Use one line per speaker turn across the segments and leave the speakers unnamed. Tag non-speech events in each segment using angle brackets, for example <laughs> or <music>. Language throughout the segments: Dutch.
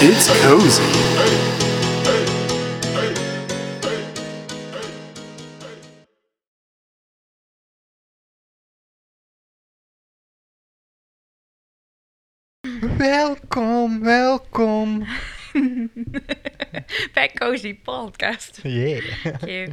It's cozy. Welkom, welkom.
bij Cozy Podcast.
Yeah.
Oké.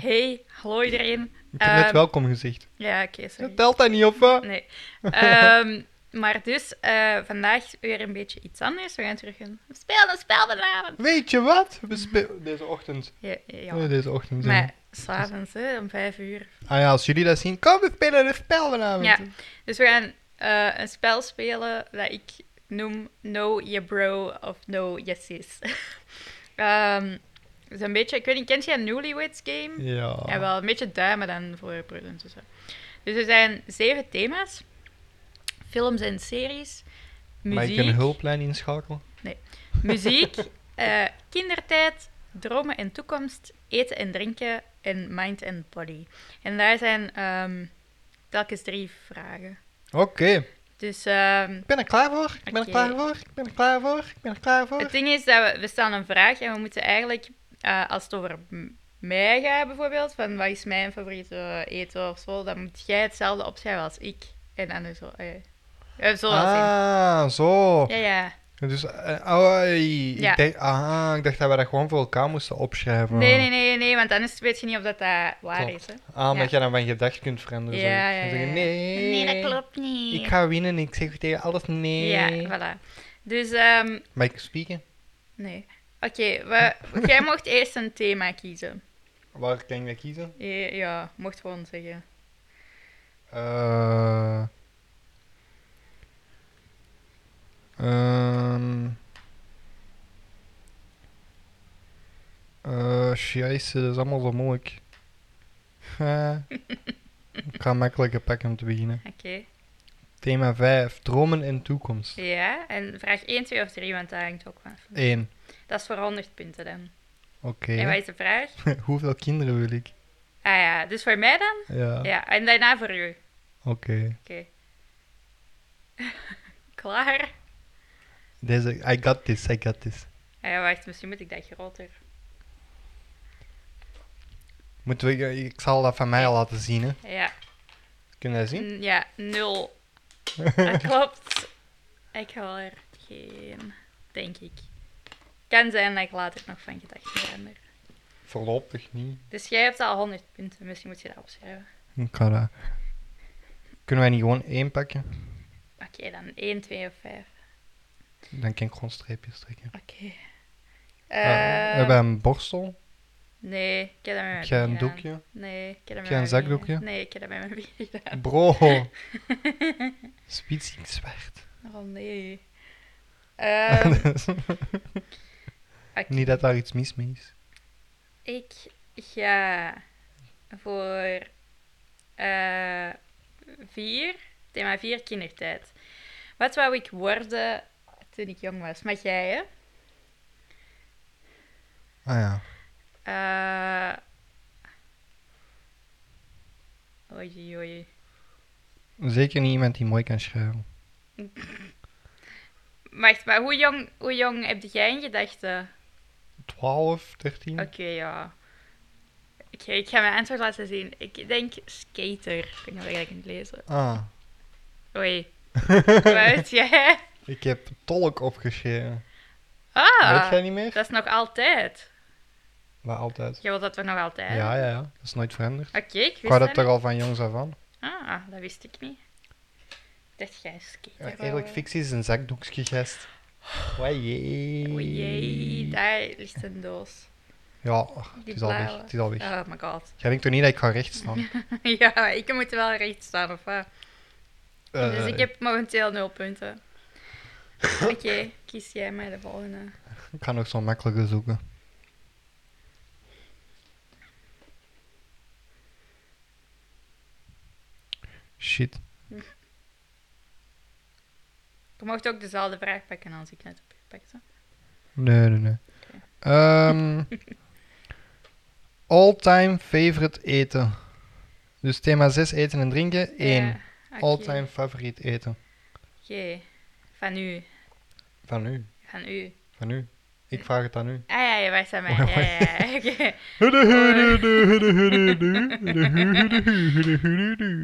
Hey, hallo iedereen.
Ik heb net
Ehm,
welkom gezegd.
Ja, oké, sorry.
Dat telt dat niet op, hè?
Nee. Ehm, maar dus, eh, vandaag weer een beetje iets anders. We gaan terug een speel een spel vanavond.
Weet je wat? We spelen deze ochtend.
Ja, ja.
Nee, deze ochtend.
maar s'avonds, hè, om vijf uur.
Ah ja, als jullie dat zien, kom, we spelen een spel vanavond.
Ja. Dus we gaan eh, een spel spelen dat ik noem No Your Bro of No Your Sis. <laughs> Ehm, dus een beetje, ik weet niet, kent jij een Newlyweds Game?
Ja.
Ja, wel een beetje duimen dan voor broers en zussen. Dus er zijn zeven thema's: films en series,
Mag ik een
muziek,
<laughs> hulplijn inschakelen?
muziek eh, kindertijd, dromen en toekomst, eten en drinken en mind en body. En daar zijn ehm, telkens drie vragen.
Oké.
Dus ehm,
Ik ben er klaar voor. Ik ben er
Oké.
klaar voor. Ik ben er klaar voor. Ik ben er klaar voor.
het ding is dat we, we stellen een vraag en we moeten eigenlijk, eh, als het over m- mij gaat bijvoorbeeld, van wat is mijn favoriete eten of zo, dan moet jij hetzelfde opschrijven als ik. En andersom. eh eh, zo wel zien.
ah, zo.
Ja, ja.
Dus, eh, oei,
Ja.
ik, denk, ah, ik dacht dat we dat gewoon voor elkaar moesten opschrijven.
Nee, nee, nee, nee, want anders weet je niet of dat, dat
Oh.
waar
Klopt.
is. Hè?
Ah, omdat
Ja.
je dan van gedacht kunt veranderen.
Ja,
zoiets.
ja,
Dan zeggen,
ja, ja.
nee,
klopt niet.
Ik ga winnen, ik zeg tegen alles nee.
Ja, voilà. Dus, ehm
Mag ik spieken?
nee. Oké,
<laughs>
we jij mocht eerst een thema kiezen.
Waar kan ik dat kiezen?
Ja, ja, mocht gewoon zeggen.
Eh. Ehm. Eh, scheisse, dat is allemaal zo moeilijk. <laughs> Eh, ik ga makkelijker pakken om te beginnen.
Oké.
Thema 5. Dromen en toekomst.
Ja, en vraag 1, 2 of 3, want daar hangt ook van.
1.
Dat is voor 100 punten dan.
Oké.
En wat is de vraag?
<laughs> Hoeveel kinderen wil ik?
Ah ja, dus voor mij dan?
Ja.
Ja, en daarna voor u. Oké.
Oké.
<laughs> Klaar?
Deze, I got this, I got this.
Ah ja, wacht, misschien moet ik dat groter.
Moeten we, ik zal dat van mij laten zien, hè.
Ja,
Kun je dat zien?
n- ja
<laughs>
nul. Dat klopt. Ik haal er geen, denk ik. Kan zijn dat ik later nog van gedachten verander.
Voorlopig niet.
Dus jij hebt al 100 punten, misschien moet je dat opschrijven.
Ik ga dat... Kunnen wij niet gewoon één pakken?
Oké, dan 1, 2 of 5.
Dan kan ik gewoon streepjes trekken.
Oké.
Eh,
Eh,
we hebben een borstel.
Nee, ik heb dat met mijn
Ik ga een
vrienden gedaan.
doekje.
Nee, ik heb dat met
jij een
mijn vrienden.
zakdoekje?
Nee, ik heb dat met <laughs> mijn vrienden gedaan.
Bro. Spitsig zwart.
Oh
<laughs>
nee. Ehm, oké.
niet dat daar iets mis mee is.
Ik ga voor eh, vier, thema 4, kindertijd. Wat wou ik worden toen ik jong was? Mag jij, hè?
Ah ja.
Eh Oei, oei.
Zeker niet iemand die mooi kan schrijven.
Wacht, maar hoe jong, hoe jong heb jij in gedachten?
12, 13?
Oké, ja. Oké, ik ga mijn antwoord laten zien. Ik denk skater. Ik ben nog eigenlijk aan het lezen.
Ah.
Oei.
<laughs>
Wat jij?
Ik heb tolk opgeschreven. Weet
Ah,
jij niet meer?
dat is nog altijd.
Maar altijd.
Je wilt dat we nog altijd?
Ja, ja, ja. Dat is nooit veranderd.
Oké, ik
Ik
wist
had
dat
dat toch
niet.
al van jongs af aan.
Ah, dat wist ik niet. Dat jij skater
Ja, eigenlijk,
wou.
fictie is een zakdoekje gest. Wajee.
O jee, daar ligt een doos.
Ja, ach, het
Die
is al weg.
blauwe.
Het is al weg.
Oh my god. <laughs>
Jij denkt toch niet dat ik ga recht staan?
ja, ik moet wel recht staan, of wat? dus
Eh,
ik heb momenteel nul
<laughs>
punten. Oké, kies jij mij de volgende.
ik ga nog zo'n makkelijke zoeken. Shit.
Je mocht ook dezelfde vraag pakken als ik net heb gepakt. hè.
Nee, nee, nee.
<laughs>
Ehm, all-time favorite eten. Dus thema 6 eten en drinken. 1.
Ja, Eh, oké.
All-time favoriet eten.
Oké, van u.
Van u.
Van u.
Van u. Ik vraag het aan u.
Ah ja, je wacht aan mij. Ja, ja, ja.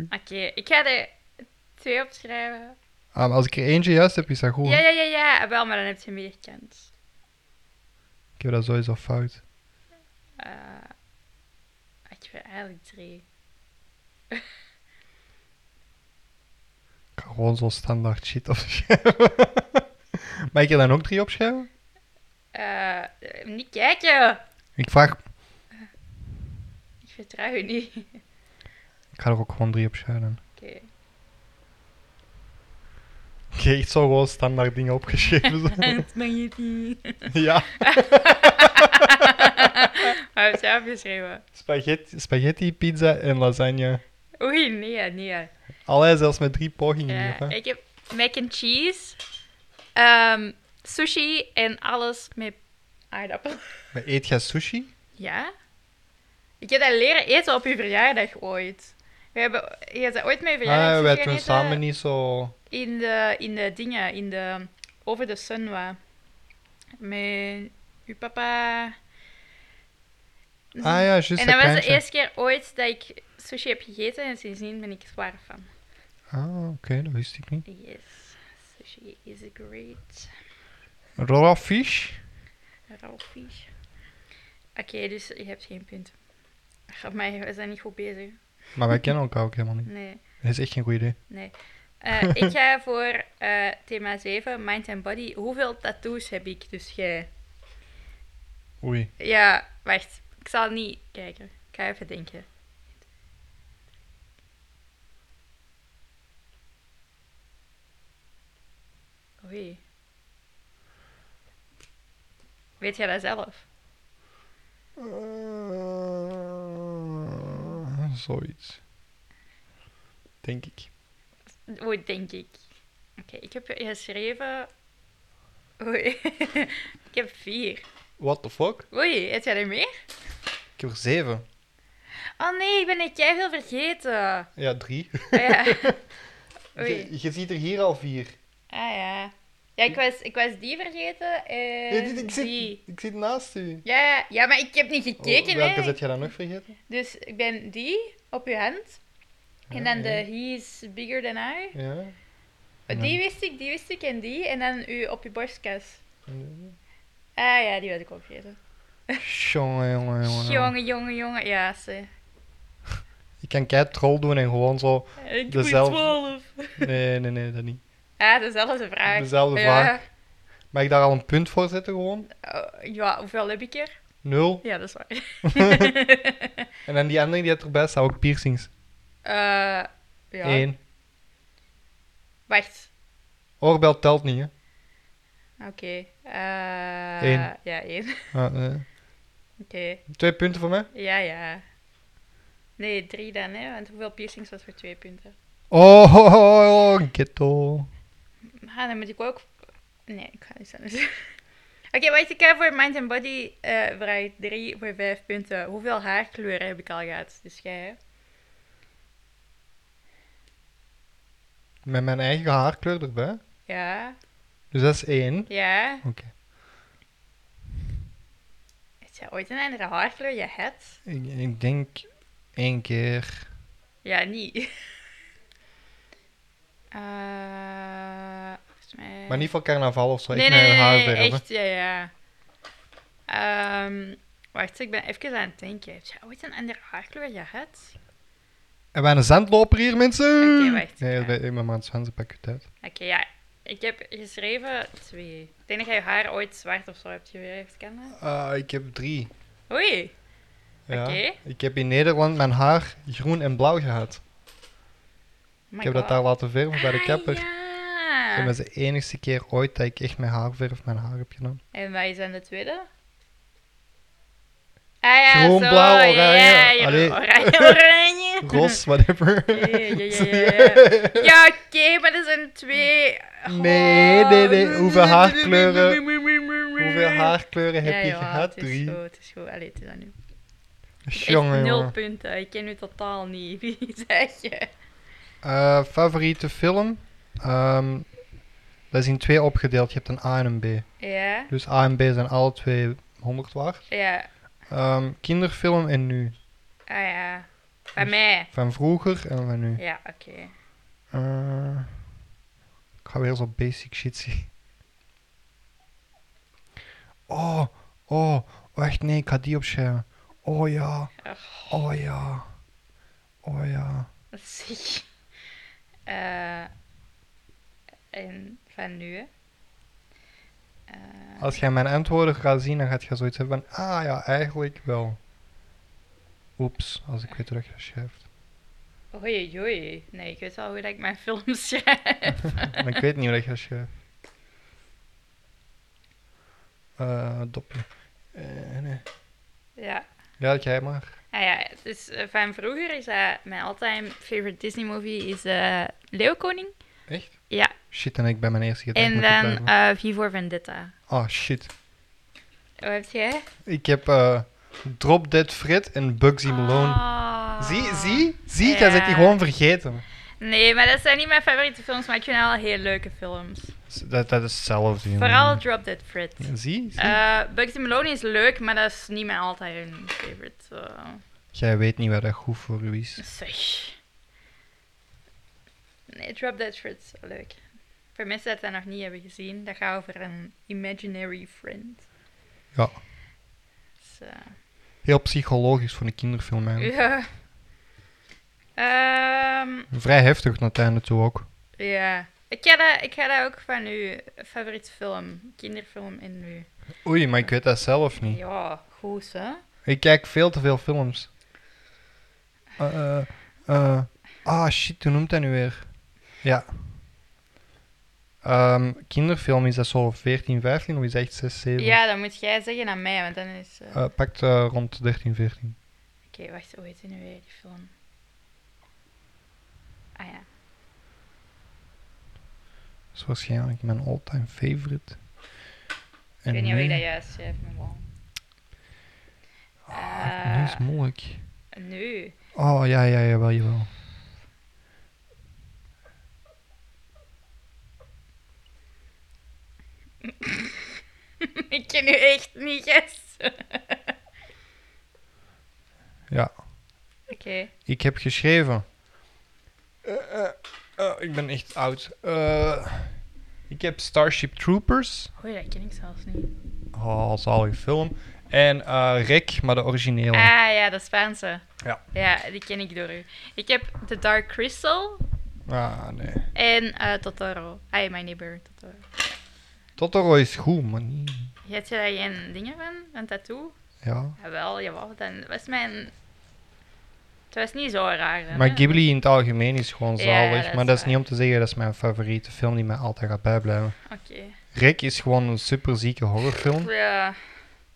Oké, Oké, ik ga er twee opschrijven.
Ah, maar als ik er eentje juist heb, is dat goed.
Ja,
hè?
ja, ja, ja. Wel, maar dan heb je meer kans.
Ik heb dat sowieso fout.
Eh, ik wil eigenlijk drie.
Ik ga gewoon zo'n standaard shit <laughs> opschrijven. Mag ik er dan ook drie opschrijven?
Eh, niet kijken.
Ik vraag...
Ik vertrouw je niet. <laughs> Oké.
Ik ga er ook gewoon drie opschrijven. <laughs> Ik heb echt zo gewoon standaard dingen
<laughs>
opgeschreven. zo.
Het spaghetti.
<laughs> ja.
Maar we zijn afgeschreven.
Spaghetti, spaghetti, pizza en lasagne.
Oei, nee, nee.
Allee, zelfs met drie pogingen.
Ja,
hè.
Eh, ik heb mac and cheese, ehm, sushi en alles met aardappel. <laughs>
Maar eet jij sushi?
Ja? Ik heb dat leren eten op uw verjaardag ooit. We hebben, je hebt dat ooit met je verjaardag
Ah,
sushi
wij
gaan
doen
eten
samen niet zo...
in de, in de dingen, in de Over the Sun was. Met uw papa.
Ah ja, juist.
en dat was de
kleintje.
eerste keer ooit dat ik sushi heb gegeten en sindsdien ben ik zwaar van.
Ah, oké, dat wist ik niet.
Yes, sushi is great.
Raw fish?
Rauw vies. Oké, dus je hebt geen punt. Gaat mij, we zijn niet goed bezig.
Maar wij kennen elkaar ook helemaal niet.
Nee,
Dat is echt geen goed idee.
nee. Eh, ik ga voor eh, thema 7, mind and body. Hoeveel tattoos heb ik? Dus jij.
Oei.
Ja, wacht. Ik zal niet kijken. Ik ga even denken. Oei. Weet jij dat zelf?
Eh, zoiets. Denk ik.
Oei, denk ik. Oké, ik heb geschreven. Oei. <laughs> ik heb vier.
What the fuck?
Oei, heb jij er meer?
Ik heb er zeven.
Oh nee, ik ben er veel vergeten.
Ja, drie.
Oh
<laughs>
ja. Oei.
Je, je ziet er hier al vier.
Ah ja. Ja, ik was, ik was die vergeten en
Ja, dit- ik, zit,
die.
ik zit naast u.
Ja, ja, maar ik heb niet
Oh,
gekeken,
welke
hè.
zet jij dan nog vergeten?
Dus ik ben die op je hand. En dan
Ja,
de
ja.
he is bigger than I.
Ja.
Die wist ik, die wist ik en die. En dan u op je borstkas.
Jongen,
Ah ja, die was ik ook vergeten.
jongen, jongen.
Jongen, jongen, jongen. Ja, ze.
Ik kan kei troll doen en gewoon zo.
Ik moet
Dezelfde-
12.
Nee, nee, nee, dat niet.
Ah, dezelfde vraag.
Dezelfde
ja.
vraag. Mag ik daar al een punt voor zetten gewoon?
Oh, ja, hoeveel heb ik er?
Nul.
Ja, dat is waar.
En dan die andere die had erbij staat ook piercings.
Eh ja.
Eén.
Wacht.
Oorbel telt niet, hè?
Oké. Eh,
Eén.
Ja, één. <laughs> Oké.
Ah, eh, twee punten voor mij.
Ja, ja. Nee, drie dan, hè? Want hoeveel piercings was voor twee punten?
Oh, oh, oh, oh, ghetto.
Ah, dan moet ik ook. Nee, ik ga niet anders. <laughs> Oké, wacht, ik heb voor Mind and Body eh vraag 3 voor 5 punten. Hoeveel haarkleuren heb ik al gehad? Dus jij, hè?
Met mijn eigen haarkleur erbij.
Ja,
Dus dat is één.
ja.
Oké.
Heeft jij ooit een andere haarkleur je hebt?
Ik, ik denk één keer.
Ja, niet. <laughs> Eh, volgens mij...
Maar niet voor carnaval of zo.
nee,
ik
nee,
mijn
nee,
haar
nee,
verven.
echt, ja, ja. Ehm, wacht, ik ben even aan het denken. Heeft jij ooit een andere haarkleur gehad?
En wij een zandloper hier, mensen.
Oké, wacht.
Nee,
Ja.
dat ben ik met mijn zwansen pak je tijd.
Oké, ja. Ik heb geschreven twee. Ik denk dat jij je haar ooit zwart of zo hebt gewerkt, kennen.
Ah, ik heb drie.
Oei. Oh
Ja.
Oké.
Ik heb in Nederland mijn haar groen en blauw gehad.
my
ik heb dat
God.
daar laten verven bij de
Ah,
kapper.
ja.
Dat is de enige keer ooit dat ik echt mijn haarverf mijn haar heb
<laughs>
genomen.
En wij zijn de tweede. Ah ja,
Groen,
zo,
blauw,
ja,
oranje.
ja,
Allee.
oranje,
<laughs>
oranje.
Ros, whatever.
Ja, ja, ja, ja, ja.
<laughs>
Ja, oké, maar er zijn twee. Oh,
Nee, nee, nee. Hoeveel haarkleuren- <laughs> Hoeveel haarkleuren heb
Ja,
je
joh,
gehad?
Het is
Drie.
goed, het is goed. Allee, het is aan nu.
Jongen,
nul
jongen.
punten. Ik ken u totaal niet. <laughs> Wie zeg je?
Eh, favoriete film? Ehm, Dat is in twee opgedeeld. Je hebt een A en een B.
Ja,
Dus A en B zijn alle twee 100 waard.
ja,
Ehm, kinderfilm en nu.
ah ja. Bij mij.
Van vroeger en van nu.
Ja, oké.
Eh, ik ga weer zo basic shit zien. Oh, oh, wacht, nee, ik ga die opschrijven. Oh ja,
Ach,
oh ja, oh ja.
dat is ziek. Eh, en van nu, hè. Eh,
Als jij mijn antwoorden gaat zien, dan gaat je zoiets hebben van, ah ja, eigenlijk wel. Oeps, als ik weer teruggeschrijft.
oei, oei. Nee, ik weet wel hoe dat ik mijn films <laughs> schrijf.
Maar ik weet niet hoe dat je schrijft. Eh, dopje. Eh, nee.
ja.
Ja, jij maar.
Ah ja, dus eh, van vroeger is dat mijn all-time favorite Disney movie is eh Leeuwkoning.
Echt?
Ja,
Shit, en ik ben mijn eerste gedachte
en
moeten
dan
blijven.
eh V voor Vendetta.
Oh shit.
Wat heb jij?
Ik heb eh, Drop Dead Fred en Bugsy Malone.
Ah.
Zie, zie, zie, jij zit die
Ja.
gewoon vergeten.
Nee, maar dat zijn niet mijn favoriete films, maar ik vind wel heel leuke films.
S- Dat, dat is hetzelfde. jongen.
Vooral Drop Dead Fred.
Ja, Zie, zie.
Eh Bugsy Malone is leuk, maar dat is niet mijn all-time favorite. eh,
Jij weet niet wat dat goed voor u is.
zeg. Nee, Drop Dead Fred is wel leuk. Voor mensen dat dat nog niet hebben gezien, dat gaat over een imaginary friend.
Ja.
Dus, eh,
Heel psychologisch voor een kinderfilm eigenlijk.
<laughs> Ja. Ehm,
Vrij heftig naar het einde toe ook.
ja. Ik ga, dat, ik ga dat ook van uw favoriete film, kinderfilm in nu.
Oei, maar ik weet dat zelf niet.
Ja, goed hè?
Ik kijk veel te veel films. Eh, eh, eh. ah shit, hoe noemt dat nu weer? Ja. Ehm, kinderfilm is dat zo 14, 15 of is dat echt 6, 7?
Ja, dan moet jij zeggen aan mij, want dan is... eh,
Eh, pakt eh, rond 13, 14.
Oké, wacht, hoe heet die nu weer, die film? Ah ja.
Dat is waarschijnlijk mijn all-time favorite.
Ik weet niet of
nu,
ik dat juist schrijf, maar bon.
Ah, nu is het moeilijk.
Nu? <laughs>
Oh, ja, ja, jawel, jawel.
ik ken u echt niet, yes.
Ja.
Oké.
Ik heb geschreven. Eh, eh, eh, ik ben echt oud. Eh, ik heb Starship Troopers.
Oei, dat ken ik zelfs niet.
Oh, zalige film. En eh Rick, maar de originele.
Ah ja, de Spaanse.
Ja.
Ja, die ken ik door u. Ik heb The Dark Crystal
Ah, nee.
en eh Totoro. Ai, My Neighbor Totoro.
Totoro is goed, maar niet...
Heb je daar geen dingen van? Een tattoo?
Ja.
Jawel, jawel. Dan was mijn... Het was niet zo raar. hè?
Maar Ghibli in het algemeen is gewoon
Ja,
zalig.
dat is
maar dat is niet
waar.
om te zeggen, dat is mijn favoriete film die mij altijd gaat bijblijven.
Oké.
Rick is gewoon een superzieke horrorfilm.
Ja.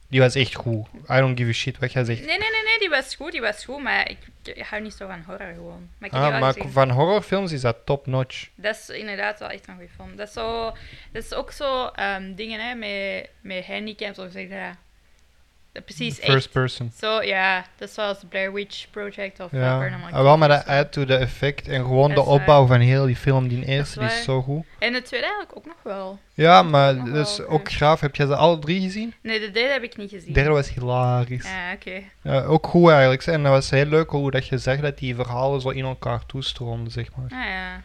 Die was echt goed. I don't give a shit wat jij zegt.
Nee, nee, nee, nee, die was goed, die was goed, maar ik, ik hou niet zo van horror gewoon. Maar ik heb die
Ah,
wel
maar
gezien.
van horrorfilms is dat top notch.
Dat is inderdaad wel echt een goede film. Dat is, zo, dat is ook zo ehm, dingen hè, met, met handicaps of zeg je dat. Dat Precies
First
echt.
person.
Zo, ja, dat is zoals de Blair Witch Project of ja.
Ja,
Paranormal
ah, wel, maar dat
Activity.
add to the effect en gewoon de
Dat is waar.
opbouw van heel die film. Die eerste
Dat
die
is
is zo goed.
En de tweede eigenlijk ook nog wel.
Ja, maar
nog
dat
wel
is
oké.
ook graaf. Heb jij ze alle drie gezien?
Nee, de derde heb ik niet gezien.
De derde was hilarisch.
Ah, oké.
Ja, ook goed eigenlijk. En dat was heel leuk hoe dat je zegt dat die verhalen zo in elkaar toestroomden, zeg maar.
Ah ja.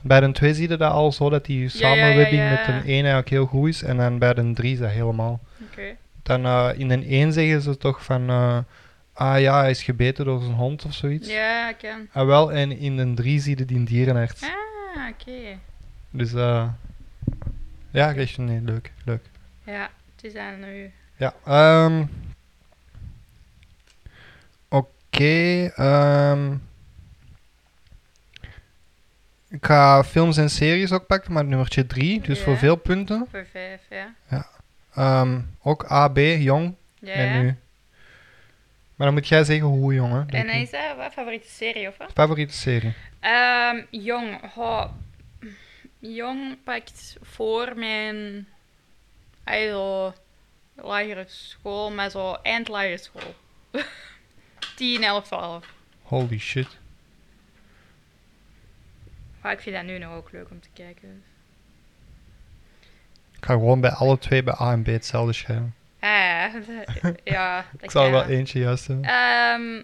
Bij de twee zie je dat al zo, dat die samenwerking
ja.
met de ene eigenlijk heel goed is. En dan bij de drie is dat helemaal.
Oké.
Dan eh, in de één zeggen ze toch van... eh, ah ja, hij is gebeten door zijn hond of zoiets.
Ja, ik kan.
Ah wel, en in de drie zie je die dierenarts.
Ah, oké.
Dus eh ja, echt nee, leuk, leuk.
Ja, het is aan u.
Ja, ehm oké. ehm ik ga films en series ook pakken, maar nummertje 3, dus voor
Ja.
veel punten.
Voor vijf, ja.
Ehm, ook AB, jong
Ja,
en
ja.
nu. Maar dan moet jij zeggen hoe jong, hè?
En
denk
hij
ik.
is dat wat favoriete serie of wat?
Favoriete serie?
Ehm, jong. Ho. Jong pakt voor mijn. Ay, zo lagere school, maar zo eind lagere school. <laughs> 10, 11, 12.
Holy shit.
Maar ik vind dat nu nog ook leuk om te kijken.
Ik ga gewoon bij alle twee, bij A en B, hetzelfde schrijven.
Ah, ja, <laughs> de- ja, dat
ik zal er
kan.
wel eentje juist hebben.
Ehm,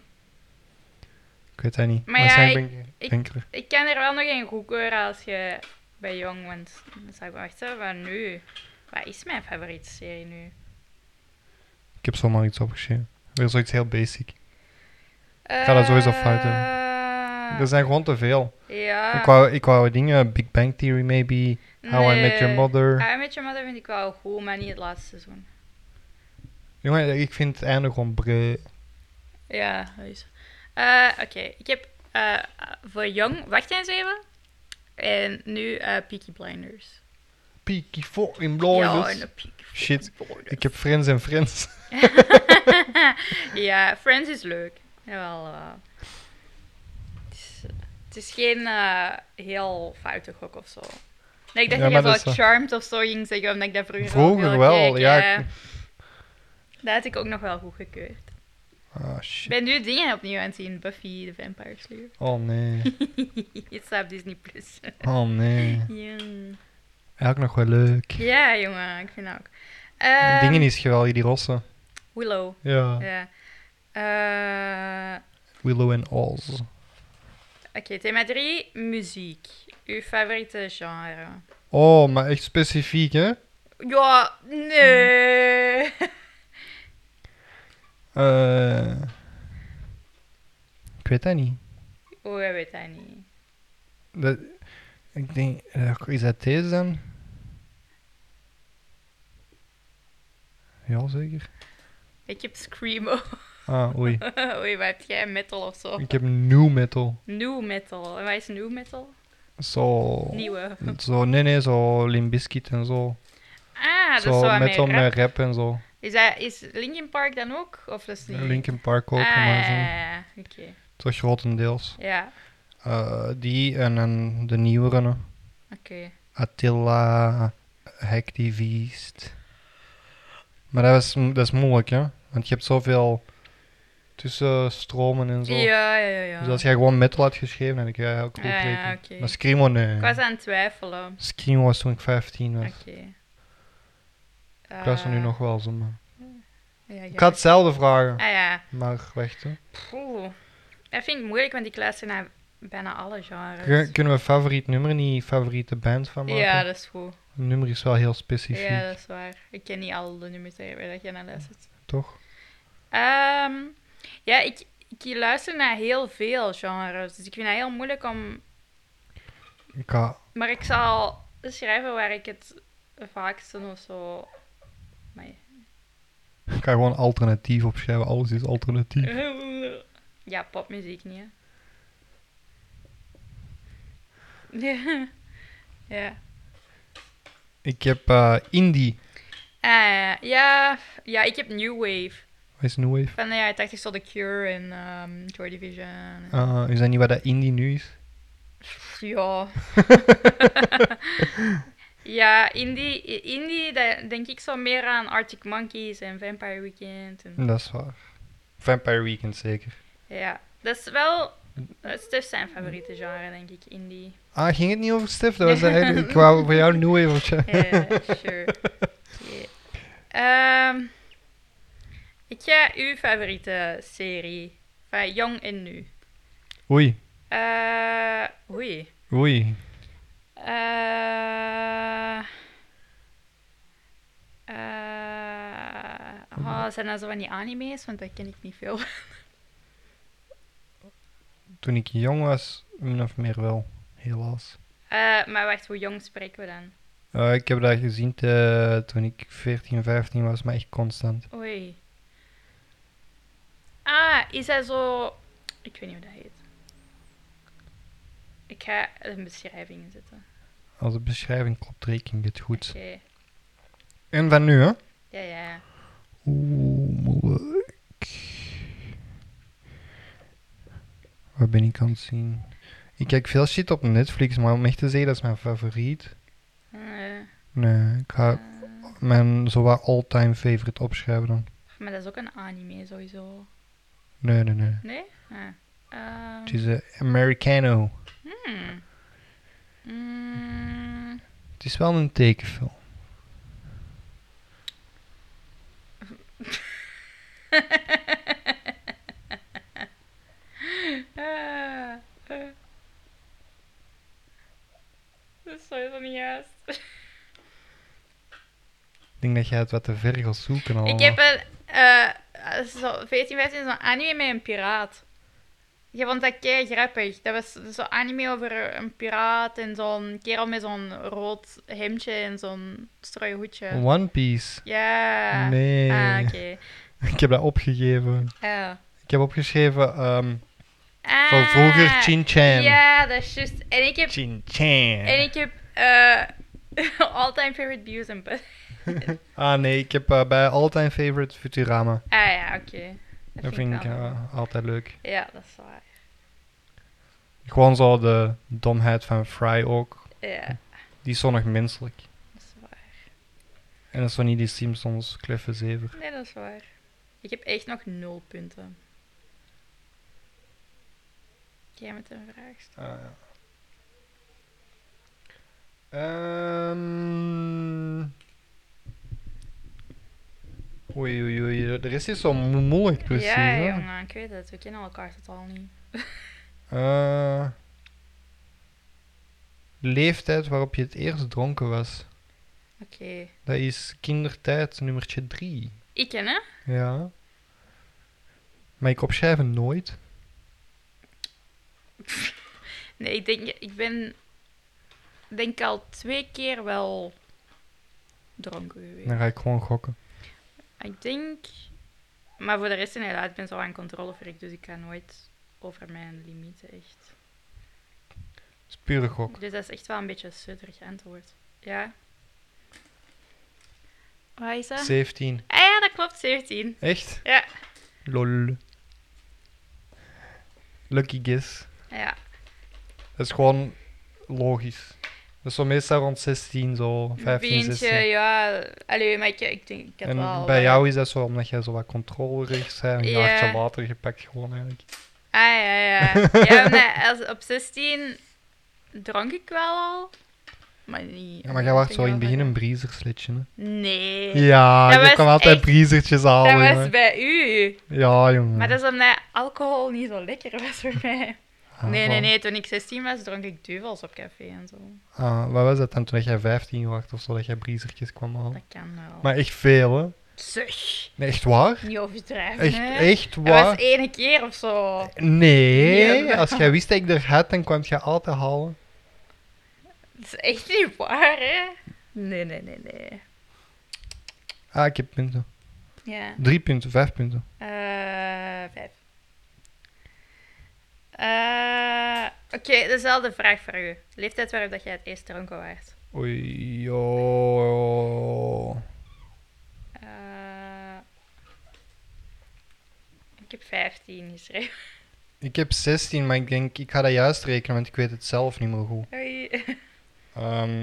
ik weet dat niet.
maar ja,
zijn
ik-
ben,
ik-
ben ik er.
ik kan er wel nog een goedkeuren als je bij jong bent. Dan zou ik wachten, wat nu? Wat is mijn favoriete serie nu?
Ik heb zomaar iets opgeschreven. Weer zoiets heel basic. ga dat sowieso fout hebben.
Ah.
Er zijn gewoon te veel.
Ehm, Ja.
Ik, wou, ik wou dingen, Big Bang Theory maybe, How I Met Your
Nee. Ah.
Mother.
How I Eh, Met Your Mother vind ik wel goed, maar niet het laatste seizoen.
Jongen, ik vind het einde gewoon bre.
Ja, dat is. Eh, Oké, ik heb eh, voor jong Wacht eens even. En nu eh, Peaky Blinders.
Peaky fucking
Ja, en
blinders.
de Peaky
Shit,
Blinders.
ik heb Friends en Friends. <laughs>
ja, Friends is leuk. Jawel. eh, het, is, het is geen eh, heel foute gok of zo. Nee, ik dacht
Ja,
dat
maar
je
dat
zo
is eh,
Charmed of zo ging zeggen, omdat ik dat vroeger,
Vroeger
veel
wel,
keek,
ja,
eh.
ik-
dat had ik ook nog wel goed gekeurd.
Ah,
Ik
shit.
ben nu dingen opnieuw aan het zien. Buffy, de Vampire Slayer.
Oh
<laughs>
nee.
Het staat op Disney+. dus Plus.
Oh nee.
ja.
Eigenlijk nog wel leuk.
ja, jongen. Ik vind dat ook.
De
Ehm,
Dingen Oh. is geweldig, die rossen.
Willow.
Ja.
Ja. Eh,
Willow en Oz.
Oké, thema 3. Muziek. Uw favoriete genre.
Oh, maar echt specifiek, hè?
Ja, nee.
Hmm. Eh, ik weet dat niet.
Oh, ik weet dat niet.
Dat, ik denk, eh, is dat deze dan? Ja, zeker.
Ik heb Screamo.
Ah, oei.
<laughs> Oei, wat heb jij? Metal of zo?
Ik heb new metal.
New metal. En wat is new metal?
Zo.
Nieuwe.
Oh. Zo, nee, nee, zo Limp Bizkit en zo.
Ah, dat is
zo
zo aan
metal
mij.
met rap en zo.
Is, dat, is Linkin Park dan ook? Of dat is niet?
Linkin Park ook,
Ah,
maar
ja,
zo.
ja, ja. Oké.
Toch grotendeels.
Ja,
Eh, die en, en de nieuwere.
oké.
Attila, Hacktivist. Maar dat is, dat is moeilijk, hè? Want je hebt zoveel tussenstromen en zo.
Ja, ja, ja. ja.
Dus als jij gewoon metal had geschreven, had ik jij ook goed
Ja, ja,
rekenen.
oké.
Maar Screamo,
Ik
nee.
was aan het twijfelen.
Screamo was toen ik 15 was.
Oké.
Ik luister nu
Eh,
nog wel zo, maar...
ja,
Ik had hetzelfde vragen.
Ah ja.
Maar wacht, hè.
Poeh. Dat vind ik moeilijk, want ik luister naar bijna alle genres.
Kun- Kunnen we favoriet nummer niet favoriete band van maken?
Ja, dat is goed.
Een nummer is wel heel specifiek,
Ja, dat is waar. Ik ken niet al de nummers waar waar jij naar luistert.
toch?
Ehm, ja, ik, ik luister naar heel veel genres, dus ik vind dat heel moeilijk om...
Ik ga...
Maar ik zal schrijven waar ik het vaakste of zo... Maar
Ik ga gewoon alternatief opschrijven. Alles is alternatief.
<laughs> Ja, popmuziek niet, hè. <laughs> Ja. Ah, ja.
Ik heb eh, Indie.
Ah, ja, ja, ik heb New Wave.
Wat is New Wave?
Van de jaren 80 zo The Cure en ehm Joy Division.
Ah, is dat niet wat dat Indie nu is?
Pff, Ja. ja, indie, indie daar denk ik zo meer aan Arctic Monkeys en Vampire Weekend. En,
Dat is waar. Vampire Weekend zeker.
ja, dat is wel... Dat is dus zijn favoriete genre, denk ik, indie.
Ah, ging het niet over Stef? <laughs> Dat was eigenlijk... Ik wou voor jou New Wave opschrijven.
Eh, sure. Yeah. Ehm, ik ga uw favoriete serie. Van jong en nu.
Oei.
Eh oei.
Oei.
Eh eh, oh, zijn dat zo van die anime's? Want daar ken ik niet veel.
Toen ik jong was, min of meer wel. Helaas.
Eh, maar wacht, hoe jong spreken we dan?
Eh, ik heb dat gezien eh, toen ik 14, 15 was, maar echt constant.
Oei. Ah, is dat zo... Ik weet niet hoe dat heet. Ik ga een beschrijving inzetten.
Als de beschrijving klopt, reken ik het goed.
Oké.
En van nu, hè?
Ja, ja.
Oeh, moeilijk. Waar ben ik aan het zien? Ik kijk veel shit op Netflix, maar om echt te zeggen, dat is mijn favoriet.
Eh,
Nee, ik ga
eh,
mijn zowaar all-time favorite opschrijven dan.
maar dat is ook een anime sowieso.
Nee, nee, nee.
Nee? Ah. Ehm,
Het is eh, Americano.
hmm. Mm,
Het is wel een tekenfilm.
Ah, eh. Dat is sowieso niet juist.
Ik denk dat jij het wat te ver gaat zoeken al.
Ik heb een, eh, zo 14, 15 zo'n anime met een piraat. Je vond dat kei grappig. Dat was zo'n anime over een piraat en zo'n kerel met zo'n rood hemdje en zo'n strooihoedje.
One Piece.
Ja.
Nee. <laughs>
Ah, oké.
Ik heb dat opgegeven.
Ja.
Ik heb opgeschreven ehm,
Ah,
van vroeger Chin Chan.
Ja, dat is juist. En ik heb,
Chin
en
Chan.
ik heb eh, <laughs> all-time favorite views and butt.
Ah nee, ik heb eh, bij All Time Favorite Futurama.
Ah ja, oké. Dat,
Dat vind ik
dan-
eh, altijd leuk.
Ja, dat is waar.
Gewoon zo de domheid van Fry ook.
Ja,
Die is zo nog menselijk.
dat is waar.
En dat is zo niet die Simpsons kleffe zever.
Nee, dat is waar. Ik heb echt nog nul punten. Jij met een vraag stellen.
Ah, ja. Ehm. Oei, oei, oei. De rest is zo mo- moeilijk precies.
Ja,
hè?
jongen, ik weet het. We kennen elkaar totaal niet.
Eh, leeftijd waarop je het eerst dronken was.
Oké.
Dat is kindertijd nummertje 3.
Ik ken, hè?
Ja. Maar ik opschrijven nooit.
Nee, ik denk, ik ben, denk al twee keer wel dronken geweest.
Dan ga ik gewoon gokken.
Ik denk, maar voor de rest inderdaad, ik ben zo aan controlefreak, dus ik ga nooit over mijn limieten echt.
Dat is pure gok.
Dus dat is echt wel een beetje een sutterig antwoord. Ja. Wat is dat?
17.
Ah ja, dat klopt, 17.
Echt?
Ja.
Lol. Lucky guess.
Ja,
Dat is gewoon logisch. Dat is zo meestal rond 16, zo 15,
Beentje,
16.
ja. Allee, maar ik, ik denk, ik had
En
wel...
bij
eh,
jou is dat zo omdat jij zo wat controlerig bent. Een
Ja.
jaartje later gepakt gewoon eigenlijk.
Ah, ja,
<laughs>
ja. ja maar als, op 16 dronk ik wel al. Maar niet...
Ja, maar jij was zo in het begin een breezersletje. Hè?
Nee.
ne? Ja,
Dat
je
was
kwam altijd
echt-
breezertjes
dat
halen.
was
jongen.
bij u.
ne? Ja, jongen.
Maar dat is omdat alcohol niet zo lekker was voor mij.
Ah,
Nee, nee,
wel.
nee. Toen ik 16 was, dronk ik duvels op café en zo.
Ah, wat was dat dan toen jij 15 was of zo, dat jij breezertjes kwam halen?
Dat kan wel.
Maar echt veel, hè?
Zeg,
Nee, echt waar?
niet overdrijven,
Echt,
hè.
echt
Dat was
waar?
één keer of zo.
Nee,
Ja.
als jij wist dat ik er had, dan kwam jij altijd halen.
Dat is echt niet waar, hè? Nee, nee, nee, nee.
Ah, ik heb punten.
Ja.
Drie punten, vijf punten.
Eh, vijf. Eh, Oké, dezelfde vraag voor u. Leeftijd waarop dat jij het eerst dronken was.
Oei, joh.
Eh, ik heb 15 geschreven.
Ik heb 16, maar ik denk, ik ga dat juist rekenen, want ik weet het zelf niet meer goed.
Oei. Eh,
Ehm,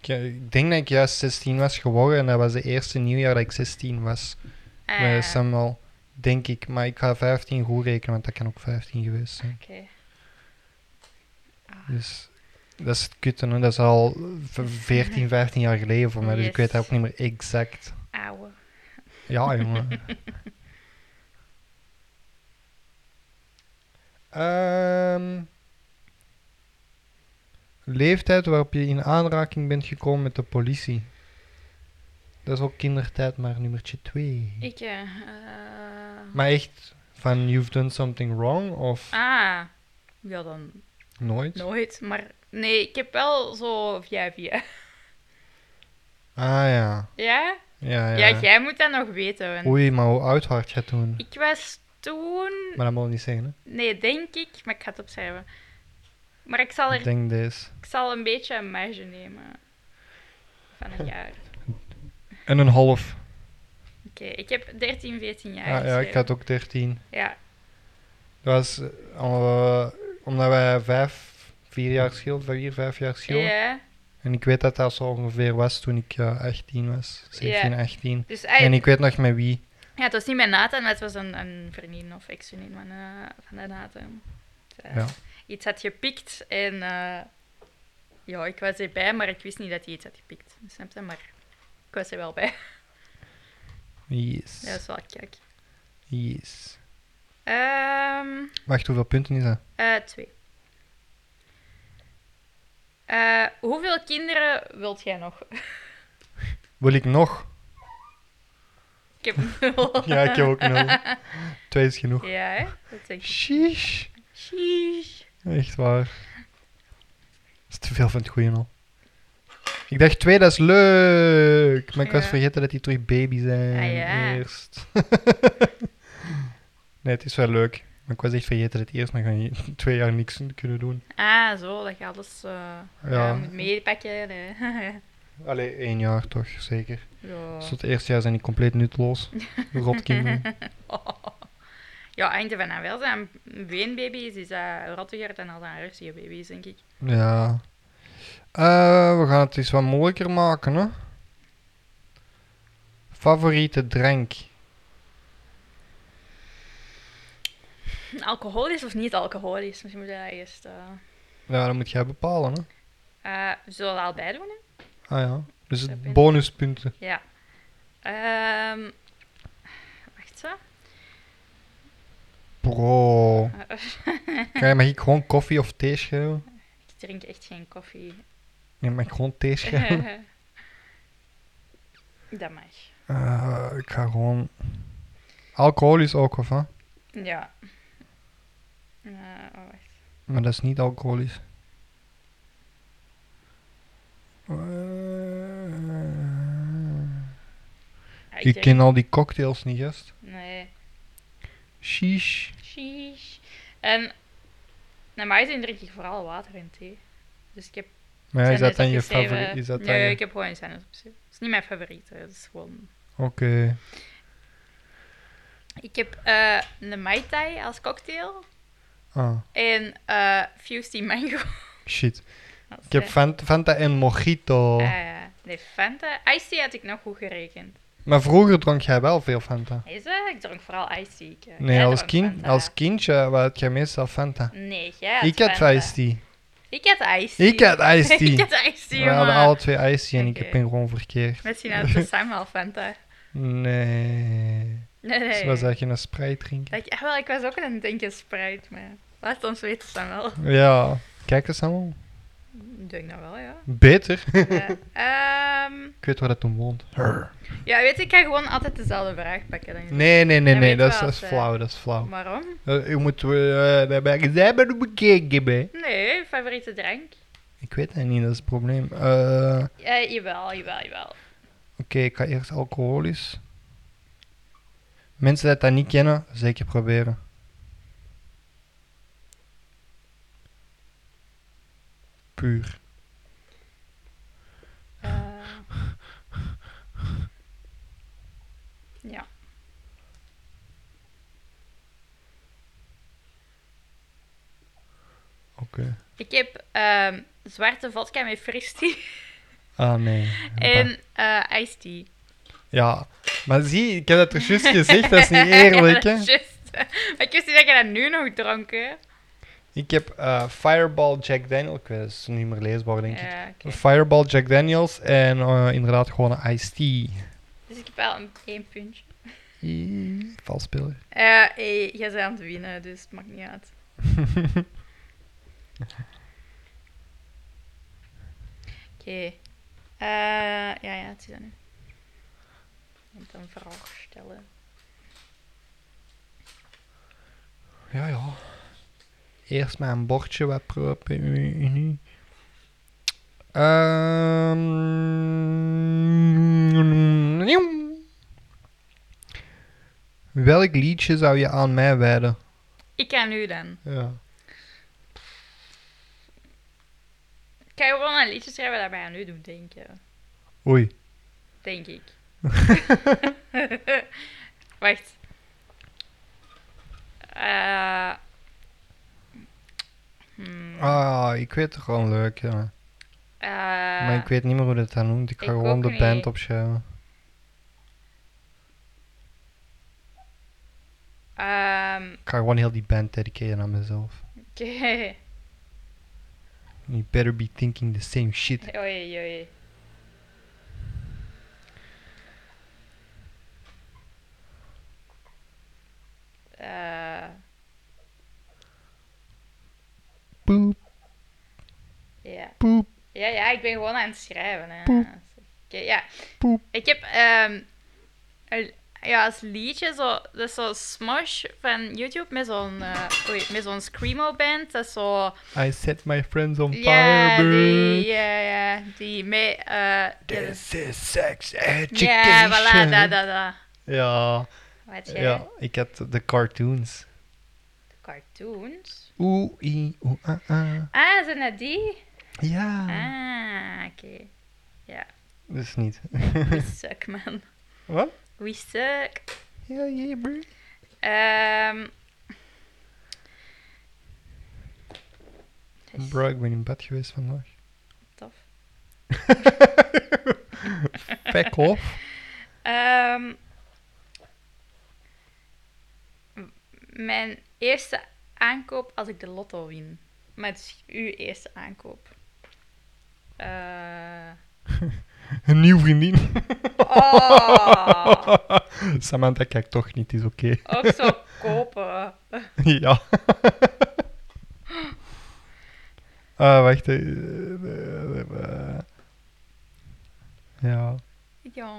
ik, ik denk dat ik juist 16 was geworden en dat was de eerste nieuwjaar dat ik 16 was.
Ah,
Bij Samuel, denk ik. Maar ik ga 15 goed rekenen, want dat kan ook 15 geweest zijn.
Oké.
Dus dat is het kutten, hè. dat is al v- 14, 15 jaar geleden voor mij, dus ik
Yes.
weet dat ook niet meer exact.
Auwe.
Ja,
<laughs>
jongen. Ehm, leeftijd waarop je in aanraking bent gekomen met de politie. Dat is ook kindertijd, maar nummertje 2.
Ik, eh... eh,
Maar echt van you've done something wrong of
Ah. Ja, dan
nooit?
nooit. Maar nee, ik heb wel zo via via.
Ah ja.
Ja?
Ja, ja.
Ja, jij moet dat nog weten. want
Oei, maar hoe oud was jij toen?
Ik was toen...
Maar dat moet je niet zeggen, hè?
Nee, denk ik, maar ik ga het opschrijven. Maar ik zal,
Ik
er,
denk deze.
ik zal een beetje een marge nemen. Van een jaar.
En een half.
Oké, ik heb 13, 14 jaar.
Ah, ja, ik
geschreven.
had ook 13.
Ja,
Dat was eh, omdat wij vijf, vier jaar schil, vier, vijf jaar schil.
ja.
En ik weet dat dat zo ongeveer was toen ik eh, 18 was. 17, 18.
Dus hij,
En ik weet nog met wie.
ja, het was niet mijn Nathan, maar het was een, een vriendin of ex-vriendin van, eh, van de Nathan. Dus, eh,
Ja.
Iets had gepikt en... eh, ja, ik was erbij, maar ik wist niet dat hij iets had gepikt. Snap
<laughs>
je? Maar ik was er wel bij.
Yes.
Dat is wel kijk.
Yes.
Ehm,
Wacht, hoeveel punten is dat?
eh, twee. Eh, hoeveel kinderen wilt jij nog? <laughs>
Wil ik nog?
Ik heb nul.
<laughs> Ja, ik heb ook nul.
<laughs>
Twee is genoeg.
Ja, hè? dat denk ik.
Sheesh.
Sheesh.
Echt waar. Dat is te veel van het goede al. Ik dacht twee, dat is leuk. Maar ik was
Ja.
vergeten dat die terug baby zijn.
Ah, ja.
Eerst. <laughs> nee, het is wel leuk. Maar ik was echt vergeten dat die eerst nog een- <laughs> twee jaar niks kunnen doen.
Ah, zo, dat je alles eh,
Ja.
ja, moet meepakken. hè. <laughs>
Allee, één jaar toch, zeker.
ja.
Dus het eerste jaar zijn die compleet nutteloos. Rotkinderen.
<laughs> ja, hangt er vanaf. Als dat een weenbaby is, is dat rottiger dan als dat een rustige baby is, denk ik. <sniffs>
Ja. Eh, we gaan het eens wat moeilijker maken, hè? Favoriete drank?
Alcoholisch of niet alcoholisch? Misschien moet je dat eerst... eh
Ja, dat moet jij bepalen, hè?
eh, we zullen dat allebei doen, hè?
Ah ja. Dus
Dat
het
ben-
bonuspunten.
Ja. Ehm, wacht, zo.
Bro.
Eh,
Kan je, mag ik gewoon koffie of thee schrijven?
ik drink echt geen koffie.
Nee, mag ik gewoon thee schrijven?
dat mag.
Eh, ik ga gewoon... Alcoholisch ook, of hè?
Ja. Eh, oh, wacht.
Maar dat is niet alcoholisch. Eh,
Ja,
ik
drink-
ken al die cocktails niet, gast.
Ah, Nee.
Sheesh.
Sheesh. En normaal gezien drink ik vooral water en thee. Dus ik heb.
Maar is dat
Xanax
dan je
opgeschreven.
favoriet? Is dat dan
nee,
je-
ik heb gewoon Xanax opgeschreven. Het is niet mijn favoriet. hè. Het is gewoon...
Oké.
Ik heb eh een Mai Tai als cocktail
Ah,
en eh Fusty Mango. <laughs>
shit.
als,
Ik heb
eh,
Fanta, Fanta en Mojito.
eh, nee, Fanta. Ice tea had ik nog goed gerekend.
Maar vroeger dronk jij wel veel Fanta.
Is dat? Ik dronk vooral Ice tea. Ik, eh,
Nee,
jij
als,
dronk
kind,
Fanta.
als kindje had jij meestal Fanta.
Nee, jij had
ik had
Fanta.
iced tea.
Ik had Ice
Ik
<laughs>
had iced
Ik
tea.
had Ice tea,
We hadden
jongen.
alle twee iced tea en ik
Oké.
heb hem gewoon verkeerd.
Misschien had het samen al Fanta.
Nee.
Nee, nee.
Zoals dat je een Sprite drinken.
Ik, wel, ik was ook aan het denken Sprite, maar laat ons weten dan wel.
Ja. Kijk eens allemaal.
Ik denk dat wel, ja.
Beter.
ja. ehm,
Ik weet waar dat toen woont. Her.
ja, weet je, ik ga gewoon altijd dezelfde vraag pakken. Dan
Nee, nee, nee,
Dat
nee.
weet
Dat is,
wel eh.
dat is
ze.
flauw. Dat is flauw.
Waarom?
Eh, Je moet... eh, daarbij gezegd hebben, bekeken bij.
Nee, favoriete drank?
Ik weet het niet, dat is het probleem. Eh, Oké,
Eh jawel, jawel, jawel.
ik ga eerst alcoholisch. Mensen die dat niet kennen, zeker proberen. Puur.
Eh, ja.
Oké.
Ik heb ehm, zwarte vodka met fristie
Ah, nee.
<laughs> en eh iced tea.
Ja, maar zie, ik heb dat er juist gezegd, dat is niet eerlijk,
Ja, <laughs>
hè.
dat is juist. Maar ik wist niet dat je dat nu nog dronk, hè?
Ik heb eh, Fireball Jack Daniels, ik weet het, is niet meer leesbaar, denk ik.
Ja, oké.
Fireball Jack Daniels en eh, inderdaad gewoon een iced tea.
Dus ik heb wel een, één puntje.
Ih, Vals speler.
Eh, eh, jij bent aan het winnen, dus het maakt niet
<laughs>
uit. Oké. Eh, ja, ja, het is aan u. Je moet een vraag stellen.
Ja, ja. Eerst maar een bordje wat proppen. nu. Ehm. Welk liedje zou je aan mij wijden?
Ik kan nu dan.
Ja.
Ik kan gewoon een liedje schrijven dat wij aan u doen denken.
Oei.
Denk ik. Wacht. Eh, hmm,
Ah, ik weet het gewoon leuk, ja.
eh,
Maar ik weet niet meer hoe dat dan noemt. Ik ga
Ik
gewoon
ook
de
niet.
band opschrijven.
<laughs> ehm,
Ik ga gewoon heel die band dediceren aan mezelf.
oké.
You better be thinking the same shit.
Oei, oei. eh,
Poep,
ja.
poep.
Ja, ja, ik ben gewoon aan het schrijven. Hè.
Poep.
Oké, ja.
Poep.
Ik heb ehm, een- ja, als liedje zo, dat is zo Smosh van YouTube met zo'n eh, oei, met zo'n screamo band. Dat is zo.
I set my friends on
Ja,
fire,
die,
bird.
ja, ja, die mee. eh, ja, dat is-
This is sex education.
ja, voilà, da, da, da.
Ja,
Wat jij?
ja, ik had de cartoons.
Cartoons.
Oeh, i, oeh, ah, ah.
Ah, zijn dat die?
Ja,
Ah, oké.
dat is niet. <laughs>
We suck, man.
Wat?
We suck.
Ja, ja, bro.
Ehm. Dat is
Bro, ik ben in bed geweest vandaag.
<laughs> tof.
Pack off.
Ehm, m- mijn eerste aankoop als ik de lotto win. Maar het is uw eerste aankoop. Eh,
Een nieuw vriendin. <laughs>
oh,
Samantha kijkt toch niet, is oké. <laughs>
ook zo kopen.
ja. Ah, wacht. eh, eh, eh, eh. Ja.
Ja.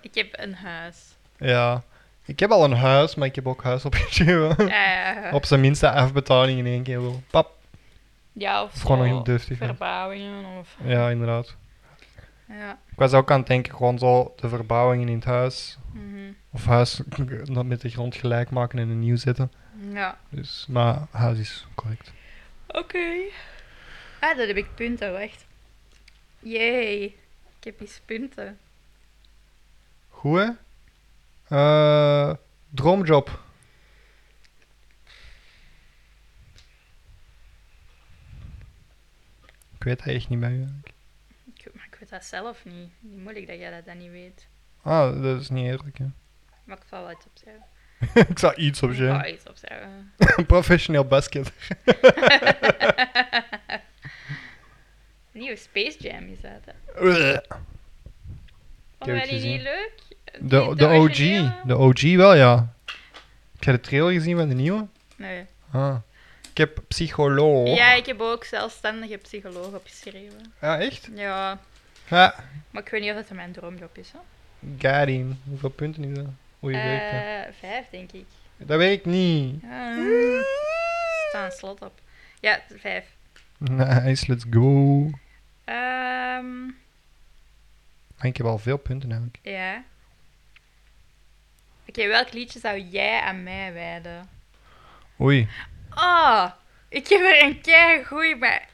Ik heb een huis.
Ja. Ik heb al een huis, maar ik heb ook huis <laughs> opgeschreven.
Eh,
Op zijn minste afbetaling in één keer wel. Pap.
ja, of
Het is gewoon nog
zo.
heel deftig. hè.
Verbouwingen of...
Ja, inderdaad.
Ja.
Ik was ook aan het denken, gewoon zo de verbouwingen in het huis.
mhm.
Of huis <laughs> dat met de grond gelijk maken en een nieuw zetten.
Ja.
Dus, maar huis is correct.
Oké. Ah, daar heb ik punten, wacht. Jee, ik heb eens punten.
Goed, hè? Eh, droomjob. Ik weet dat echt niet bij u. eigenlijk.
Ik, maar ik weet dat zelf niet. Niet moeilijk dat jij dat dan niet weet.
Ah, dat is niet eerlijk, hè. <laughs>
Maar ik zal wel iets opzeggen.
ik zou iets op
Ik
je.
zal iets opzeggen.
Professioneel basket.
Nieuwe Space Jam is dat, hè? Vonden
heb
wij
het
die
gezien.
niet leuk? Die-
De, de OG.
originele?
De OG wel, ja. Heb jij de trailer gezien van de nieuwe?
Nee.
Ah. Ik heb Psycholoog.
Ja, ik heb ook zelfstandige psycholoog opgeschreven.
Ah, echt?
Ja,
Ja.
maar ik weet niet of dat mijn droomjob is, hè?
Got him. Hoeveel punten is dat? Oei, weet dat.
Eh, vijf, denk ik.
Dat weet ik niet.
Ah, er staat een slot op. Ja, vijf.
Nice, let's go.
Ehm,
Maar Ah, Ik heb al veel punten eigenlijk.
ja. Oké, welk liedje zou jij aan mij wijden?
Oei.
Oh, ik heb er een kei goeie, maar.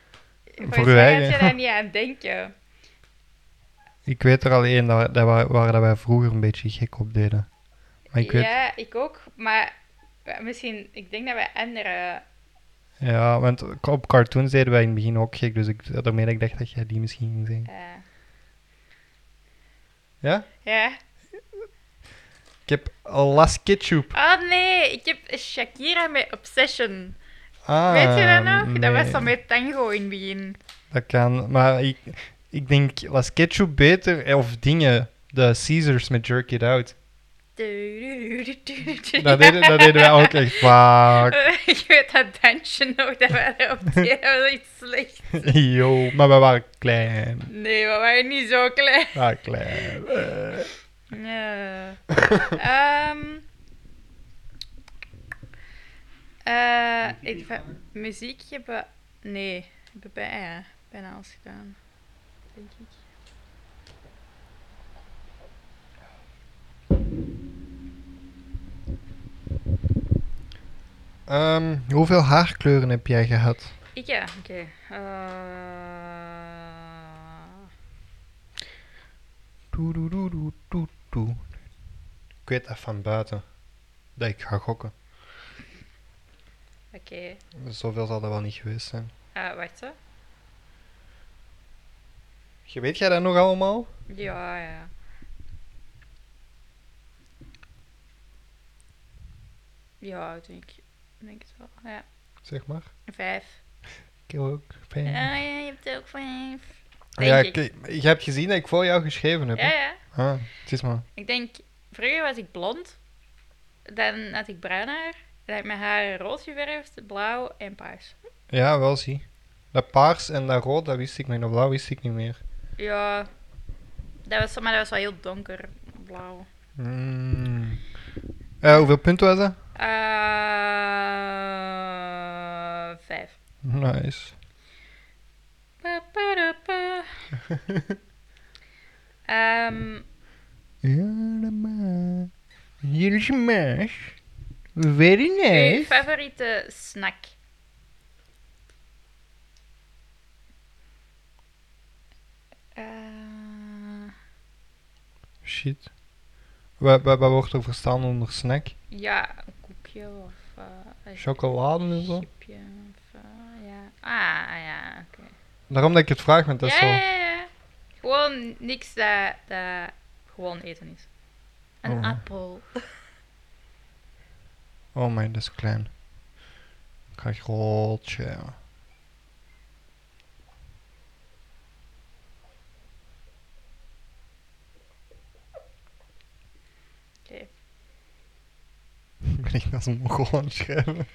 Volgens
uw
mij
eigen.
had je
<laughs>
daar niet aan denken.
Ik weet er alleen dat, dat waar, waar dat wij vroeger een beetje gek op deden. Maar ik weet...
Ja, ik ook, maar misschien, ik denk dat wij andere.
Ja, want op cartoons deden wij in het begin ook gek. Dus ik, daarmee dat ik dacht dat jij die misschien ging zeggen.
eh,
Ja?
ja.
Ik heb Last Ketchup.
Oh nee, ik heb Shakira met Obsession.
Ah,
Weet je dat nog? Dat was
nee.
dan met tango in het begin.
Dat kan, maar ik, ik denk Las Ketchup beter eh, of dingen. De Caesars met Jerk It
<laughs>
Out. Dat deden, dat deden
<laughs>
wij ook echt vaak. <laughs>
Ik weet dat dansje nog, dat we erop deden, dat was iets slecht.
Yo, maar wij waren klein.
Nee, we waren niet zo klein.
We waren klein. Eh,
Nee. Ehm. Eh, ik vind- muziek hebben... Nee, hebben bijna, bijna alles gedaan. Denk ik.
ehm, hoeveel haarkleuren heb jij gehad?
Ik ja, oké. Eh,
Doe, doe, doe, doe, doe, doe. Ik weet dat van buiten. Dat ik ga gokken.
Oké,
Zoveel zal dat wel niet geweest zijn.
Eh, wacht hè.
Je weet jij dat nog allemaal?
Ja, ja. Ja, ik denk, ik denk het wel. Ja.
Zeg maar.
Vijf.
Ik heb ook
Ja,
fijn.
ja, je hebt er ook vijf.
Ja,
Denk
ik, je hebt gezien dat ik voor jou geschreven heb.
Ja,
hè?
ja.
Ah, het is maar.
Ik denk Vroeger was ik blond. Dan had ik bruin haar. Dan heb ik mijn haar rood geverfd, blauw en paars.
Ja, wel zie. Dat paars en dat rood, dat wist ik nog. Dat blauw wist ik niet meer.
Ja, dat was, maar dat was wel heel donker, blauw.
Mm. Eh, hoeveel punten was dat?
Eh, vijf.
Nice.
Pa, pa, da,
<laughs>
pa. Ehm,
Helemaal. Hier is je meisje. Very
uw
nice.
favoriete snack? Eh,
Shit. Wat, wat, wat wordt er verstaan onder snack?
ja, een koekje of eh, een
Chocolade en zo?
chipje of eh, ja. Ah, ah, ja, oké.
Daarom dat ik het vraag, want dat is
Ja,
zo...
ja, ja, ja. Gewoon niks dat, dat gewoon eten is. Een
Oh.
appel.
Oh mijn, dat is klein. Ik ga grootje. ja.
Oké.
<laughs> Ik ben echt als een mogel aan het schrijven.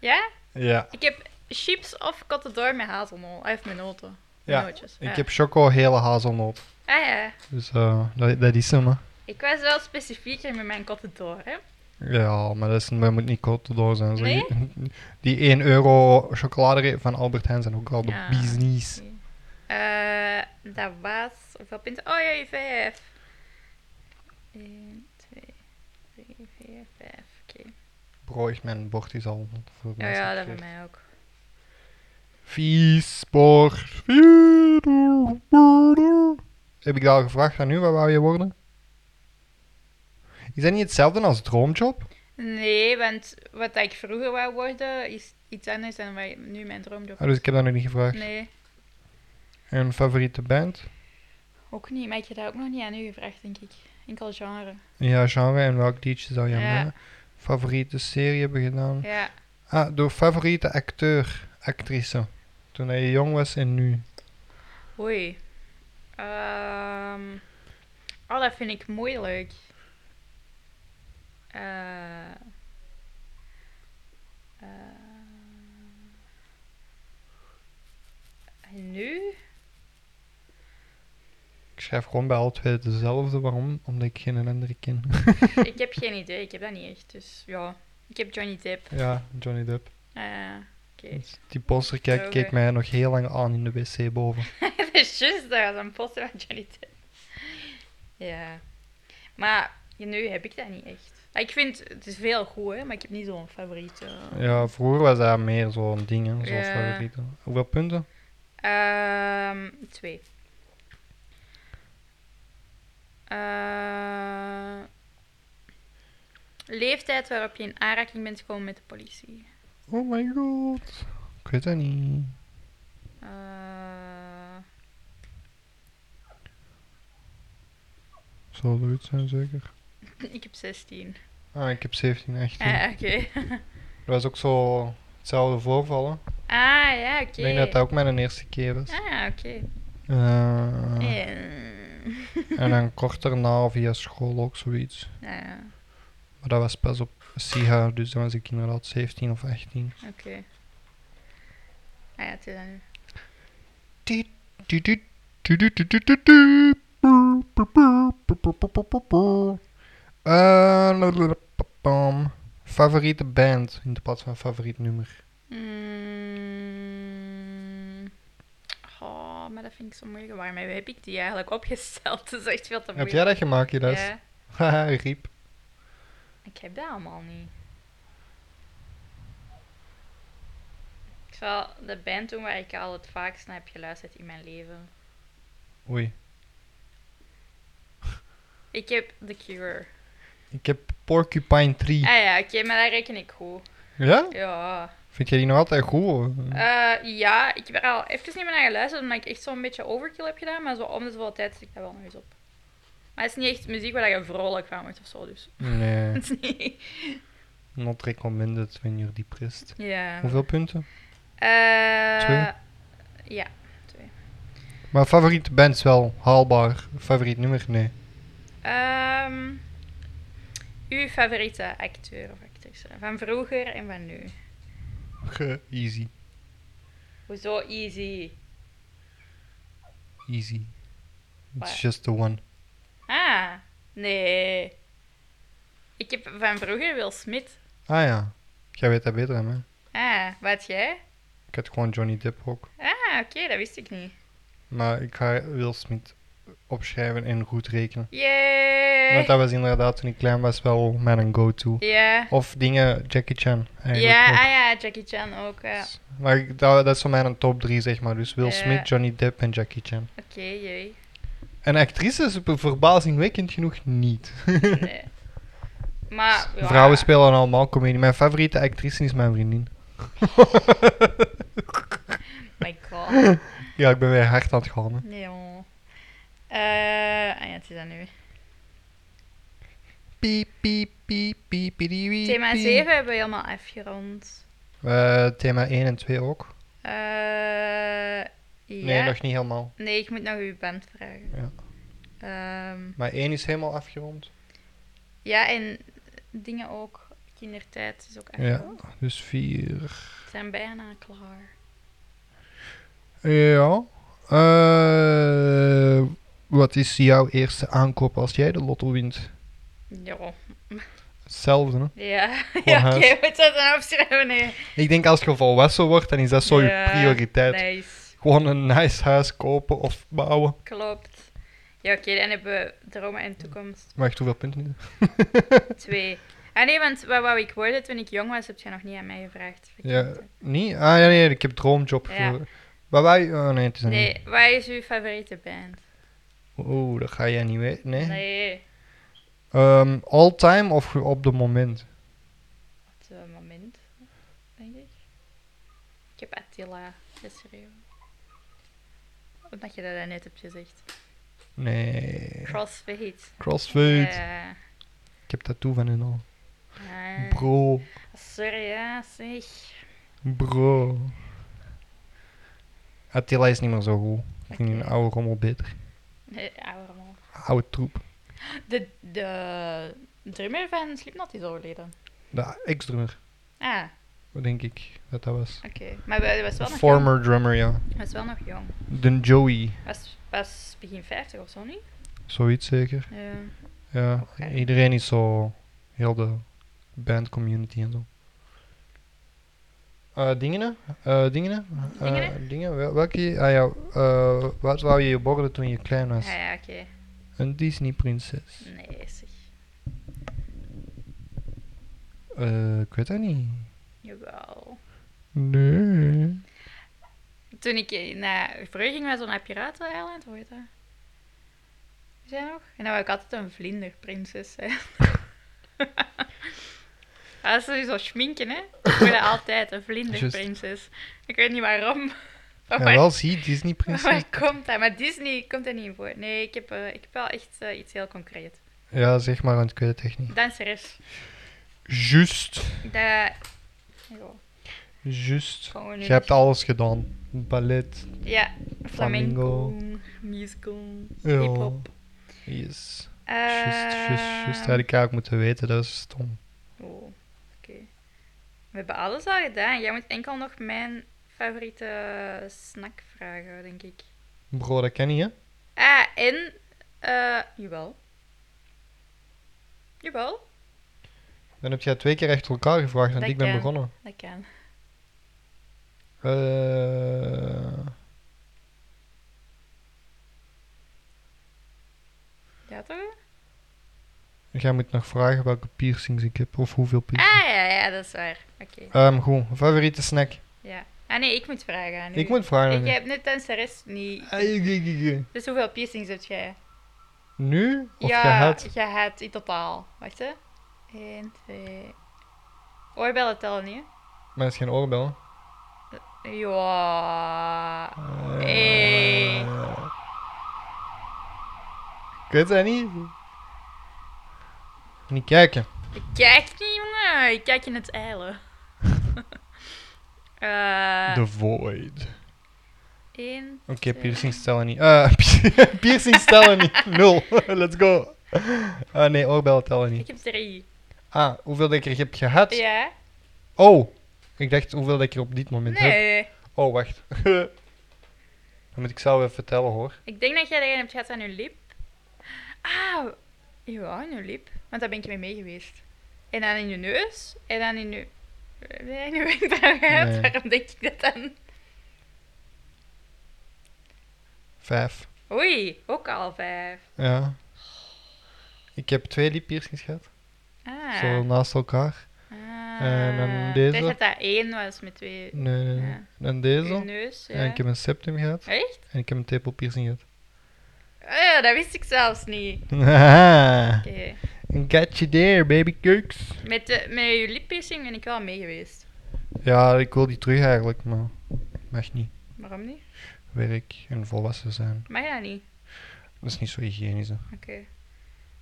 Ja?
Ja.
Ik heb chips of kattendoor met hazelnoot. Of met noten.
Ja,
Nootjes.
Ik heb choco hele hazelnoot.
Ah ja.
Dus eh, dat, dat is hem, hè.
Ik was wel specifieker met mijn kattendoor, hè.
Ja, maar dat, is, dat moet niet door zijn. Zo,
Nee?
<laughs> Die 1 euro chocoladereep van Albert Heijn zijn ook al de
Ja.
business.
Eh, dat was... Hoeveel punten? Oh ja, vijf. 1, 2, 3, 4, 5. Oké.
Brood, mijn bord is al voor
Ja, ja, dat bij mij ook.
Vies bord. Vies bord. Heb ik dat al gevraagd aan u? Wat wou je worden? Is dat niet hetzelfde als droomjob?
Nee, want wat ik vroeger wou worden, is iets anders dan wat nu mijn droomjob
Ah, dus ik heb dat nog niet
is.
gevraagd.
Nee,
Een favoriete band?
ook niet. Maar ik heb dat ook nog niet aan u gevraagd, denk ik. Enkel genre.
Ja, genre en welk liedje zou je
Ja.
hebben? Favoriete serie hebben gedaan?
Ja.
Ah, door favoriete acteur, actrice. Toen hij jong was en nu.
Oei. Ehm, oh, dat vind ik moeilijk. Eh, eh, en nu?
Ik schrijf gewoon bij alle twee dezelfde. Waarom? Omdat ik geen andere ken. <laughs>
ik heb geen idee, ik heb dat niet echt. Dus ja, ik heb Johnny Depp.
ja, Johnny Depp.
Eh, Oké.
<laughs>
<laughs>
Die poster keek,
Oké.
keek mij nog heel lang aan in de wc boven.
dat is juist, dat was een poster van Johnny Depp. Ja. Maar nu heb ik dat niet echt. Ah, Ik vind, het is veel goed, hè, maar ik heb niet zo'n favoriet. eh.
Ja, vroeger was dat meer zo'n ding, hè, zoals
Ja.
favoriete. Hoeveel punten?
Ehm, twee. Eh, leeftijd waarop je in aanraking bent gekomen met de politie.
Oh my god. Ik weet dat niet.
Eh,
Zal zoiets zijn, zeker.
ik heb
<laughs>
16.
Ah, ik heb 17, 18.
Ah, oké.
Dat was ook zo hetzelfde voorval. hè.
Ah, ja, oké.
Ik denk dat dat ook mijn eerste keer is.
Ah, oké.
Eh,
Eh,
En dan kort daarna via school ook zoiets.
nou ja.
Maar dat was pas op SIHA, dus dan was ik inderdaad 17 of 18.
Oké. Ah ja, het is aan u.
Tu- tu- tu- tu- tu- tu- tu- tu. Boe, boe, boe, boe, boe, boe, boe, boe. Eh, lalala, papam. Ehm, Favoriete band in de plaats van favoriet nummer.
Mm. Oh, maar dat vind ik zo moeilijk. Waarom heb ik die eigenlijk opgesteld? <laughs> Dat is echt veel te
Heb
moeilijk.
jij dat gemaakt, je les?
Ja,
<laughs> Haha, riep.
ik heb dat allemaal niet. Ik zal de band doen waar ik al het vaakst naar heb geluisterd in mijn leven.
Oei.
Ik heb The Cure.
Ik heb Porcupine Tree.
Ah ja, oké, maar dat reken ik goed.
Ja?
Ja.
Vind jij die nog altijd goed? hoor?
Eh, ja, ik heb er al even niet meer naar geluisterd, omdat ik echt zo'n beetje overkill heb gedaan. Maar zo om de zoveel tijd zet ik dat wel nog eens op. Maar het is niet echt muziek waar je vrolijk van wordt of zo, dus. <laughs>
Nee.
Het is niet...
Not recommended when you're depressed.
Ja.
Hoeveel punten?
Eh,
Twee?
Ja.
Maar favoriete band is wel haalbaar. Favoriet nummer? Nee.
Ehm, Uw favoriete acteur of actrice? Van vroeger en van nu?
Ge- Easy.
Hoezo easy?
Easy. It's
Waar?
just the one.
Ah, nee. Ik heb van vroeger Will Smith.
Ah ja. Jij weet dat beter dan mij.
Ah, wat jij?
Ik had gewoon Johnny Depp ook.
Ah, oké, dat wist ik niet.
Maar ik ga Will Smith opschrijven en goed rekenen.
Yay!
Want dat was inderdaad toen ik klein was wel mijn go-to.
Ja.
Of dingen, Jackie Chan. Eigenlijk
Ja,
ook.
ah ja, Jackie Chan ook. ja.
Maar ik- dat, dat is voor mij een top 3, zeg maar. Dus Will
Ja.
Smith, Johnny Depp en Jackie Chan.
Oké,
<laughs>
jee.
En actrices ver- verbazingwekkend genoeg niet.
Nee. Maar, ja.
Vrouwen spelen allemaal comedie. Mijn favoriete actrice is mijn vriendin.
Oh My god.
<laughs> Ja, ik ben weer hard aan het gaan. hè.
Nee, joh. Eh, ah ja, het is dat nu.
Piep, piep, piep, piep, piep, piep,
Thema
piep.
7 hebben we helemaal afgerond.
Eh, thema 1 en 2 ook.
Eh, ja.
Nee, nog niet helemaal.
Nee, ik moet nog uw band vragen.
Ja.
Ehm,
Maar 1 is helemaal afgerond.
ja, en dingen ook. Kindertijd is ook afgerond.
Dus 4.
We zijn bijna klaar.
Ja. Eh, wat is jouw eerste aankoop als jij de lotto wint?
Ja. <laughs>
Hetzelfde, hè?
Ja,
Gewoon
ja oké,
huis.
moet dat dan opschrijven? Nee.
Ik denk als je volwassen wordt, dan is dat zo
Ja,
je prioriteit.
Nice.
Gewoon een nice huis kopen of bouwen.
Klopt. Ja, oké, dan hebben we dromen en toekomst.
Maar echt hoeveel punten is dat?
Twee. Ah nee, want wat wou ik worden toen ik jong was, heb je nog niet aan mij gevraagd.
Ja, niet? Ah ja, nee, ik heb droomjob.
Ja.
voor. Waar wij... Oh nee, het is een...
Nee, wat is uw favoriete band?
Oeh, dat ga jij niet weten, nee.
Nee,
Ehm, all time of ge- op de moment?
op het moment, denk ik. Ik heb Attila geschreven. Omdat je dat daarnet hebt gezegd.
Nee.
Crossfit.
Crossfit.
Ja.
Ik heb tattoo van en al.
Ah,
Bro.
sorry, ja, zeg.
Bro. Attila is niet meer zo goed. Ik vind een
Oké.
oude rommel beter.
Nee, ouwe man.
Oude troep.
De, de drummer van Slipknot is overleden.
De ex-drummer,
Ah,
denk ik dat dat was.
oké. Maar hij was wel, nog jong.
Former drummer, ja.
was wel nog jong.
De Joey.
Was, was begin 50 of zo, niet?
Zoiets zeker.
Ja.
Ja,
Oké.
iedereen is zo. Heel de bandcommunity en zo. Eh dingen? eh dingen? eh,
Dingen?
dingen? Wel- Welke? Ah ja, eh, wat wou je worden toen je klein was?
Ah ja, oké.
Een Disney-prinses.
Nee, zeg.
Eh, ik weet dat niet.
Jawel.
Nee.
Oh Toen ik naar vroeger ging met zo'n Piraten-eiland, hoe heet dat? Is dat nog? En dan wou ik altijd een
<laughs>
vlinderprinses zijn. dat is sowieso schminken, hè? Ik wil dat altijd, een vlinderprinses. Ik weet niet waarom. <laughs>
Ja,
Maar waar,
wel zie,
waar
Disney-prinses.
komt dat? Maar Disney komt dat niet in voor. Nee, ik heb, eh, ik heb wel echt eh, iets heel concreet.
Ja, zeg maar, want ik weet het echt niet.
Danseres.
Juist.
Dat... Jo,
Juist.
gaan we nu
Je hebt
niet-
alles gedaan. Ballet.
Ja, flamenco,
Flamingo.
musical,
Ja.
hip-hop.
Yes. Just, just, just
Eh,
had ik eigenlijk moeten weten, dat is stom.
Oh, oké. We hebben alles al gedaan. Jij moet enkel nog mijn favoriete snack vragen, denk ik.
Bro, dat ken je, hè?
Ah, en... eh jawel. Jawel,
Dan heb jij twee keer achter elkaar gevraagd en
Dat
ik ben
kan.
begonnen.
dat kan.
Eh,
Ja, toch?
jij moet nog vragen welke piercings ik heb of hoeveel piercings.
Ah, ja, ja, dat is waar. Oké,
Ehm, goed, favoriete snack.
ja. Ah nee, ik moet vragen aan u.
Ik moet vragen. aan
Ik
u.
heb net danseres niet.
Ah, ik- ik- ik- ik.
Dus hoeveel piercings heb jij?
Nu of
ja,
gehad?
gehad in totaal. Wacht, hè. 1, 2... Oorbellen tellen niet, hè?
Maar dat is geen oorbel. hè?
Ja.
Eh,
Hey.
Ik weet dat niet. Niet kijken.
Ik kijk niet, jongen. Ik kijk in het eilen. <laughs> Eh
The Void.
één,
Oké,
twee-
piercing stellen niet. Eh, <laughs> piercing stellen niet. Nul. Let's go. Ah nee, oorbellen tellen
Ik
niet.
heb drie.
Ah, hoeveel dat ik er heb gehad?
Ja?
Oh, ik dacht hoeveel dat ik er op dit moment heb.
Nee.
Oh, wacht. <laughs> dat moet ik zelf even vertellen hoor.
Ik denk dat jij erin hebt gehad aan je lip. Ah, ja, aan je lip. Want daar ben ik mee mee geweest. En dan in je neus. En dan in je... Nee, nu ben ik daar
Nee.
uit. Waarom denk ik dat dan?
Vijf.
Oei, ook al vijf.
Ja. Ik heb twee lippiercings gehad.
Ah.
Zo naast elkaar.
Ah.
En dan
Ik
deze.
dacht dat dat één was met twee...
Nee, nee, nee.
Ja.
En
Je
eh, deze.
neus, ja.
En ik heb een septum gehad.
Echt?
En ik heb een tepelpiercing gehad. <laughs>
Oh, ja, dat wist ik zelfs niet.
Haha.
Oké.
Got you there, baby cakes.
Met, de, met je lippiercing ben ik wel mee geweest.
Ja, ik wil die terug eigenlijk, maar mag niet.
Waarom niet?
Werk en volwassen zijn.
Mag dat niet?
Dat is niet zo hygiënisch. hè.
Oké.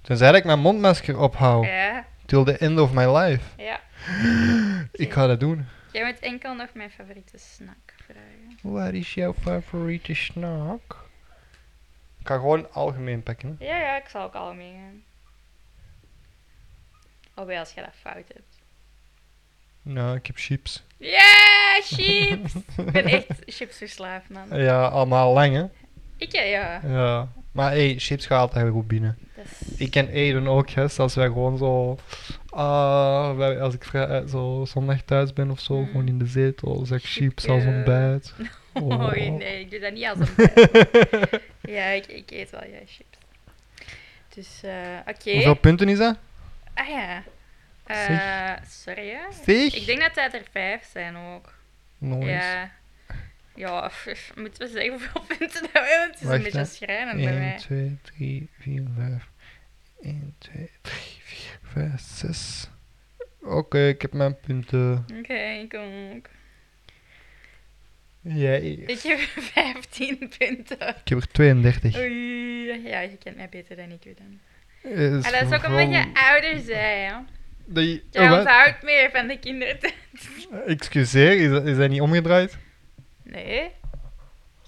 Tenzij dat ik mijn mondmasker ophoud.
Ja,
Till the end of my life.
ja.
Ik ga dat doen.
Jij moet enkel nog mijn favoriete snack vragen.
Wat is jouw favoriete snack? Ik ga gewoon algemeen pakken. hè.
Ja, ja, ik zal ook al meegaan. Alweer als jij dat fout hebt.
Nou, ik heb chips.
Ja,
<laughs>
chips! ik ben echt chipsverslaafd, man.
Ja, allemaal lang, hè?
Ik, ja, ja.
Ja. Maar hey, chips gaat altijd goed binnen.
Dat is-
Ik en Aiden ook, hè. Dus Als wij gewoon zo... ah, wij- als ik vrij, eh, zo zondag thuis ben of zo,
Mm.
gewoon in de zetel, zeg ik chips als
Chipje.
ontbijt.
Oh,
Oh.
nee, ik doe dat niet als een
<laughs>
Ja, ik, ik eet wel jij chips. Dus, eh, oké.
Hoeveel punten is dat?
Ah ja. Eh, sorry, hè.
Zeg. Oh,
Ik denk dat dat er vijf zijn ook.
Nice.
Ja. Ja, pff, moeten we zeggen hoeveel <laughs> punten dat we hebben? Het is
Wacht,
een beetje
hè.
schrijnend bij
1,
mij.
2, 3, 4, 5. 1, 2, 3, 4, 5, 6. Oké, ik heb mijn punten.
Oké, ik ook.
Jij.
Ik heb <laughs> 15 punten.
Ik heb er 32.
Oei. Ja, je kent mij beter dan ik u dan.
Eh, is
Ah, dat is ook
vooral
omdat je ouder zei, hè.
dat je-
Jij
oh, wat?
onthoudt meer van de kindertijd.
Excuseer, is dat, is dat niet
<laughs>
omgedraaid?
Nee.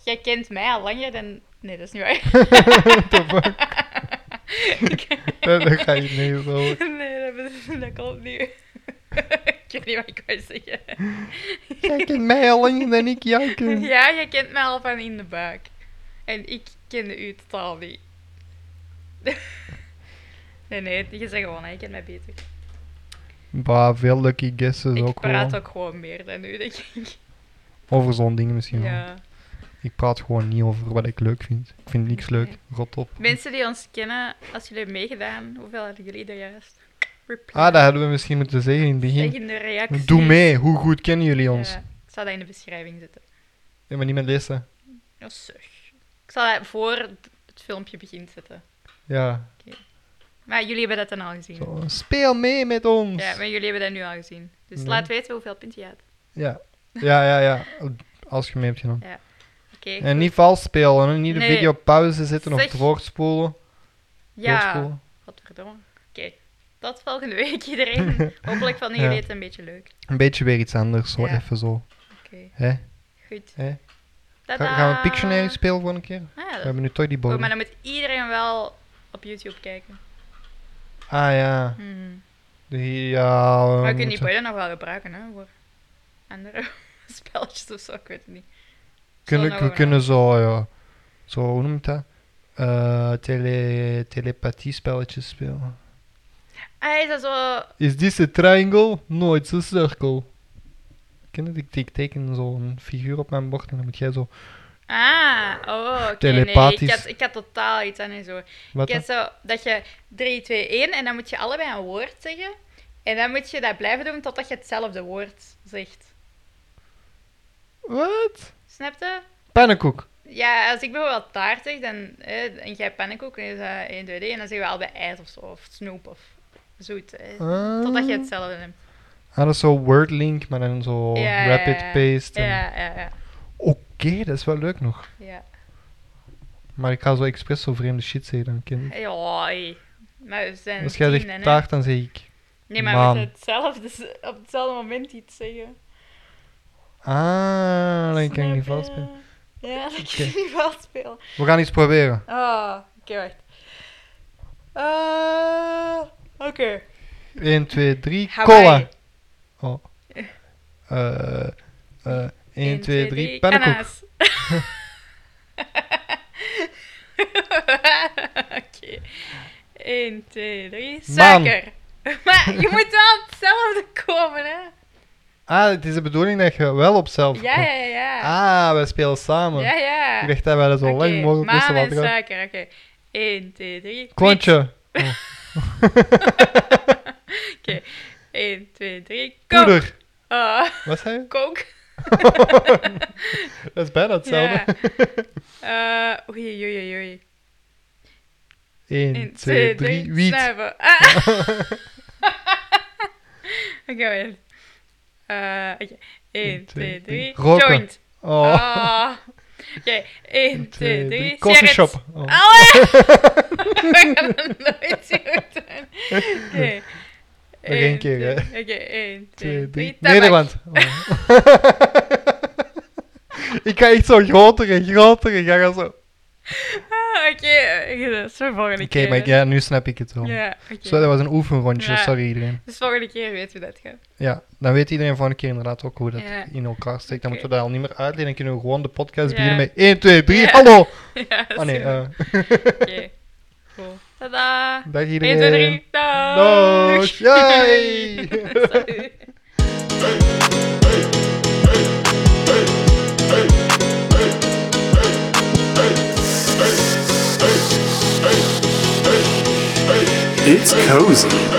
Jij kent mij al langer dan... Nee, dat is niet waar.
What <laughs> the
<laughs>
fuck?
Ik-
Dat, dat ga je niet zo.
Nee, dat, is- <laughs> dat klopt niet. ik weet niet wat ik wou zeggen.
Jij kent mij al langer dan ik jou ken.
Ja, jij kent mij al van in de buik. En ik kende u totaal niet. <laughs> nee, nee, je zegt gewoon, hè, je kent mij beter.
Bah, veel lucky guesses
Ik
ook
praat
wel.
ook gewoon meer dan u, denk ik.
Over zo'n ding misschien wel.
Ja.
Ik praat gewoon niet over wat ik leuk vind. Ik vind niks leuk. Rot op.
Mensen die ons kennen, als jullie hebben meegedaan, hoeveel hadden jullie er juist? Reply.
Ah, dat hadden we misschien moeten zeggen in het begin.
Zeg in de reactie.
Doe mee, hoe goed kennen jullie
Ja,
ons? Ja.
ik zal dat in de beschrijving zetten.
maar niemand leest dat.
Ja, zeg. Ik zal dat voor het filmpje begint zetten.
Ja.
Maar jullie hebben dat dan al gezien.
Zo, Speel mee met ons.
Ja, maar jullie hebben dat nu al gezien. Dus
Ja.
laat weten hoeveel punten je hebt.
ja. ja, ja, ja. Als je mee hebt genomen.
Oké.
En niet vals spelen, hè. niet de
Nee.
video op pauze zetten of
Zeg.
voorspoelen.
Ja,
Doorspoelen.
godverdomme. Oké, tot volgende week <laughs> iedereen. Hopelijk vonden jullie
Ja.
het een beetje leuk.
Een beetje weer iets anders, zo
Ja.
even zo.
Oké,
Hè?
goed.
Hè? Ga-
Tada!
gaan we Pictionary spelen voor een keer?
Ah, ja,
We
dat-
hebben nu toch die
Oh, maar
bodem.
dan moet iedereen wel op YouTube kijken.
Ah ja.
Hmm.
Die, ja we
Maar je kunt die
moeten-
boiler nog wel gebruiken, hè, voor andere <laughs> spelletjes of zo, ik weet het niet.
kunnen,
Zo
we
nou,
kunnen zo, ja. Zo, hoe noemt dat? Eh tele, telepathie spelletjes spelen.
Ah, is dat zo...
Is dit een triangle? Nooit een cirkel. Ken je dat? Ik, ik teken zo'n figuur op mijn bord en dan moet jij zo.
Ah, oh, oké. Nee,
Telepathisch.
ik had, ik had totaal iets aan en zo.
Wat?
Ik had zo dat je 3, 2, 1 en dan moet je allebei een woord zeggen. En dan moet je dat blijven doen totdat je hetzelfde woord zegt.
dan? Wat?
Snap je?
Pannenkoek.
Ja, als ik bijvoorbeeld taart zeg dan, eh, en jij pannenkoek, en is dat 1, 2, 3, en dan zeggen we allebei ijs of zo, of snoep of zoet. eh,
Ah.
Totdat je hetzelfde neemt.
Ah, dat is zo wordlink, maar dan zo
Ja, ja,
rapid
ja.
paste. en-
Ja, ja, ja.
Oké, dat is wel leuk nog.
Ja,
Maar ik ga zo expres zo vreemde shit zeggen dan ken.
ja oei. Maar we zijn
Als jij
tienen,
zegt
hè.
taart, dan zeg ik.
Nee, maar we moeten
maan.
hetzelfde, z- op hetzelfde moment iets zeggen.
Ah, dan kan ik niet
Snap je?
vals spelen.
Ja, dat
Oké.
kan ik niet vals spelen.
We gaan iets proberen.
Ah, Eh, oké, wacht. Ah, oké.
1, 2, 3.
Hawaii.
Cola. Oh. Eh eh 1, 2, 3. Pannenkoek.
Ananas. <laughs> Oké. 1, 2, 3.
Maan.
Suiker. <laughs> Maar je moet wel op hetzelfde komen, hè?
Ah, het is de bedoeling dat je wel op zelf
Ja, ja, ja.
Ah, wij spelen samen.
ja, ja.
Ik dacht dat wij dat zo
Oké,
lang mogelijk
maan
moesten
en
laten gaan.
suiker, oké. 1, 2, 3.
Klontje.
1, 2, 3. Kook.
Poeder.
Oh,
Wat zei je?
<laughs>
<laughs>
kook.
dat is bijna hetzelfde. <laughs>
Eh, oei, oei, oei, oei.
1, 2, 3. Wiet. <laughs>
Snuiven. Ah. <laughs> Oké, weer. Eh, Oké. 1, 2, 3.
Roken.
Joint.
Oh.
Ah. Oké, 1, 2, 3.
Coffeeshop.
Ah,
Oh. <laughs>
Alle! <laughs> We gaan het nooit zo goed doen. Oké.
één
Eén,
keer, hè.
twee- Oké, 1, 2,
Twee,
3.
drie. Nederland. Oh. <laughs> ik ga echt zo groter en groter. Ik ga zo... Oké,
Ah, oké. eh, Dat is voor volgende keer.
maar ja, nu snap ik het wel.
Ja, oké.
Zo, dat was een oefenrondje,
Ja.
sorry iedereen.
Dus volgende keer weten we dat gaat.
Ja, dan weet iedereen volgende keer inderdaad ook hoe dat
Ja.
in elkaar steekt. Dan
Oké.
moeten we dat al niet meer uitleggen. Dan kunnen we gewoon de podcast
Ja.
beginnen met 1, 2, 3,
Ja.
hallo!
<laughs> Ja, dat is
Oh nee,
goed.
eh,
Oké. Cool. Tada!
dag
1,
iedereen.
2, 3. Doeg!
Doeg! Yay!
<laughs> Sorry.
It's cozy.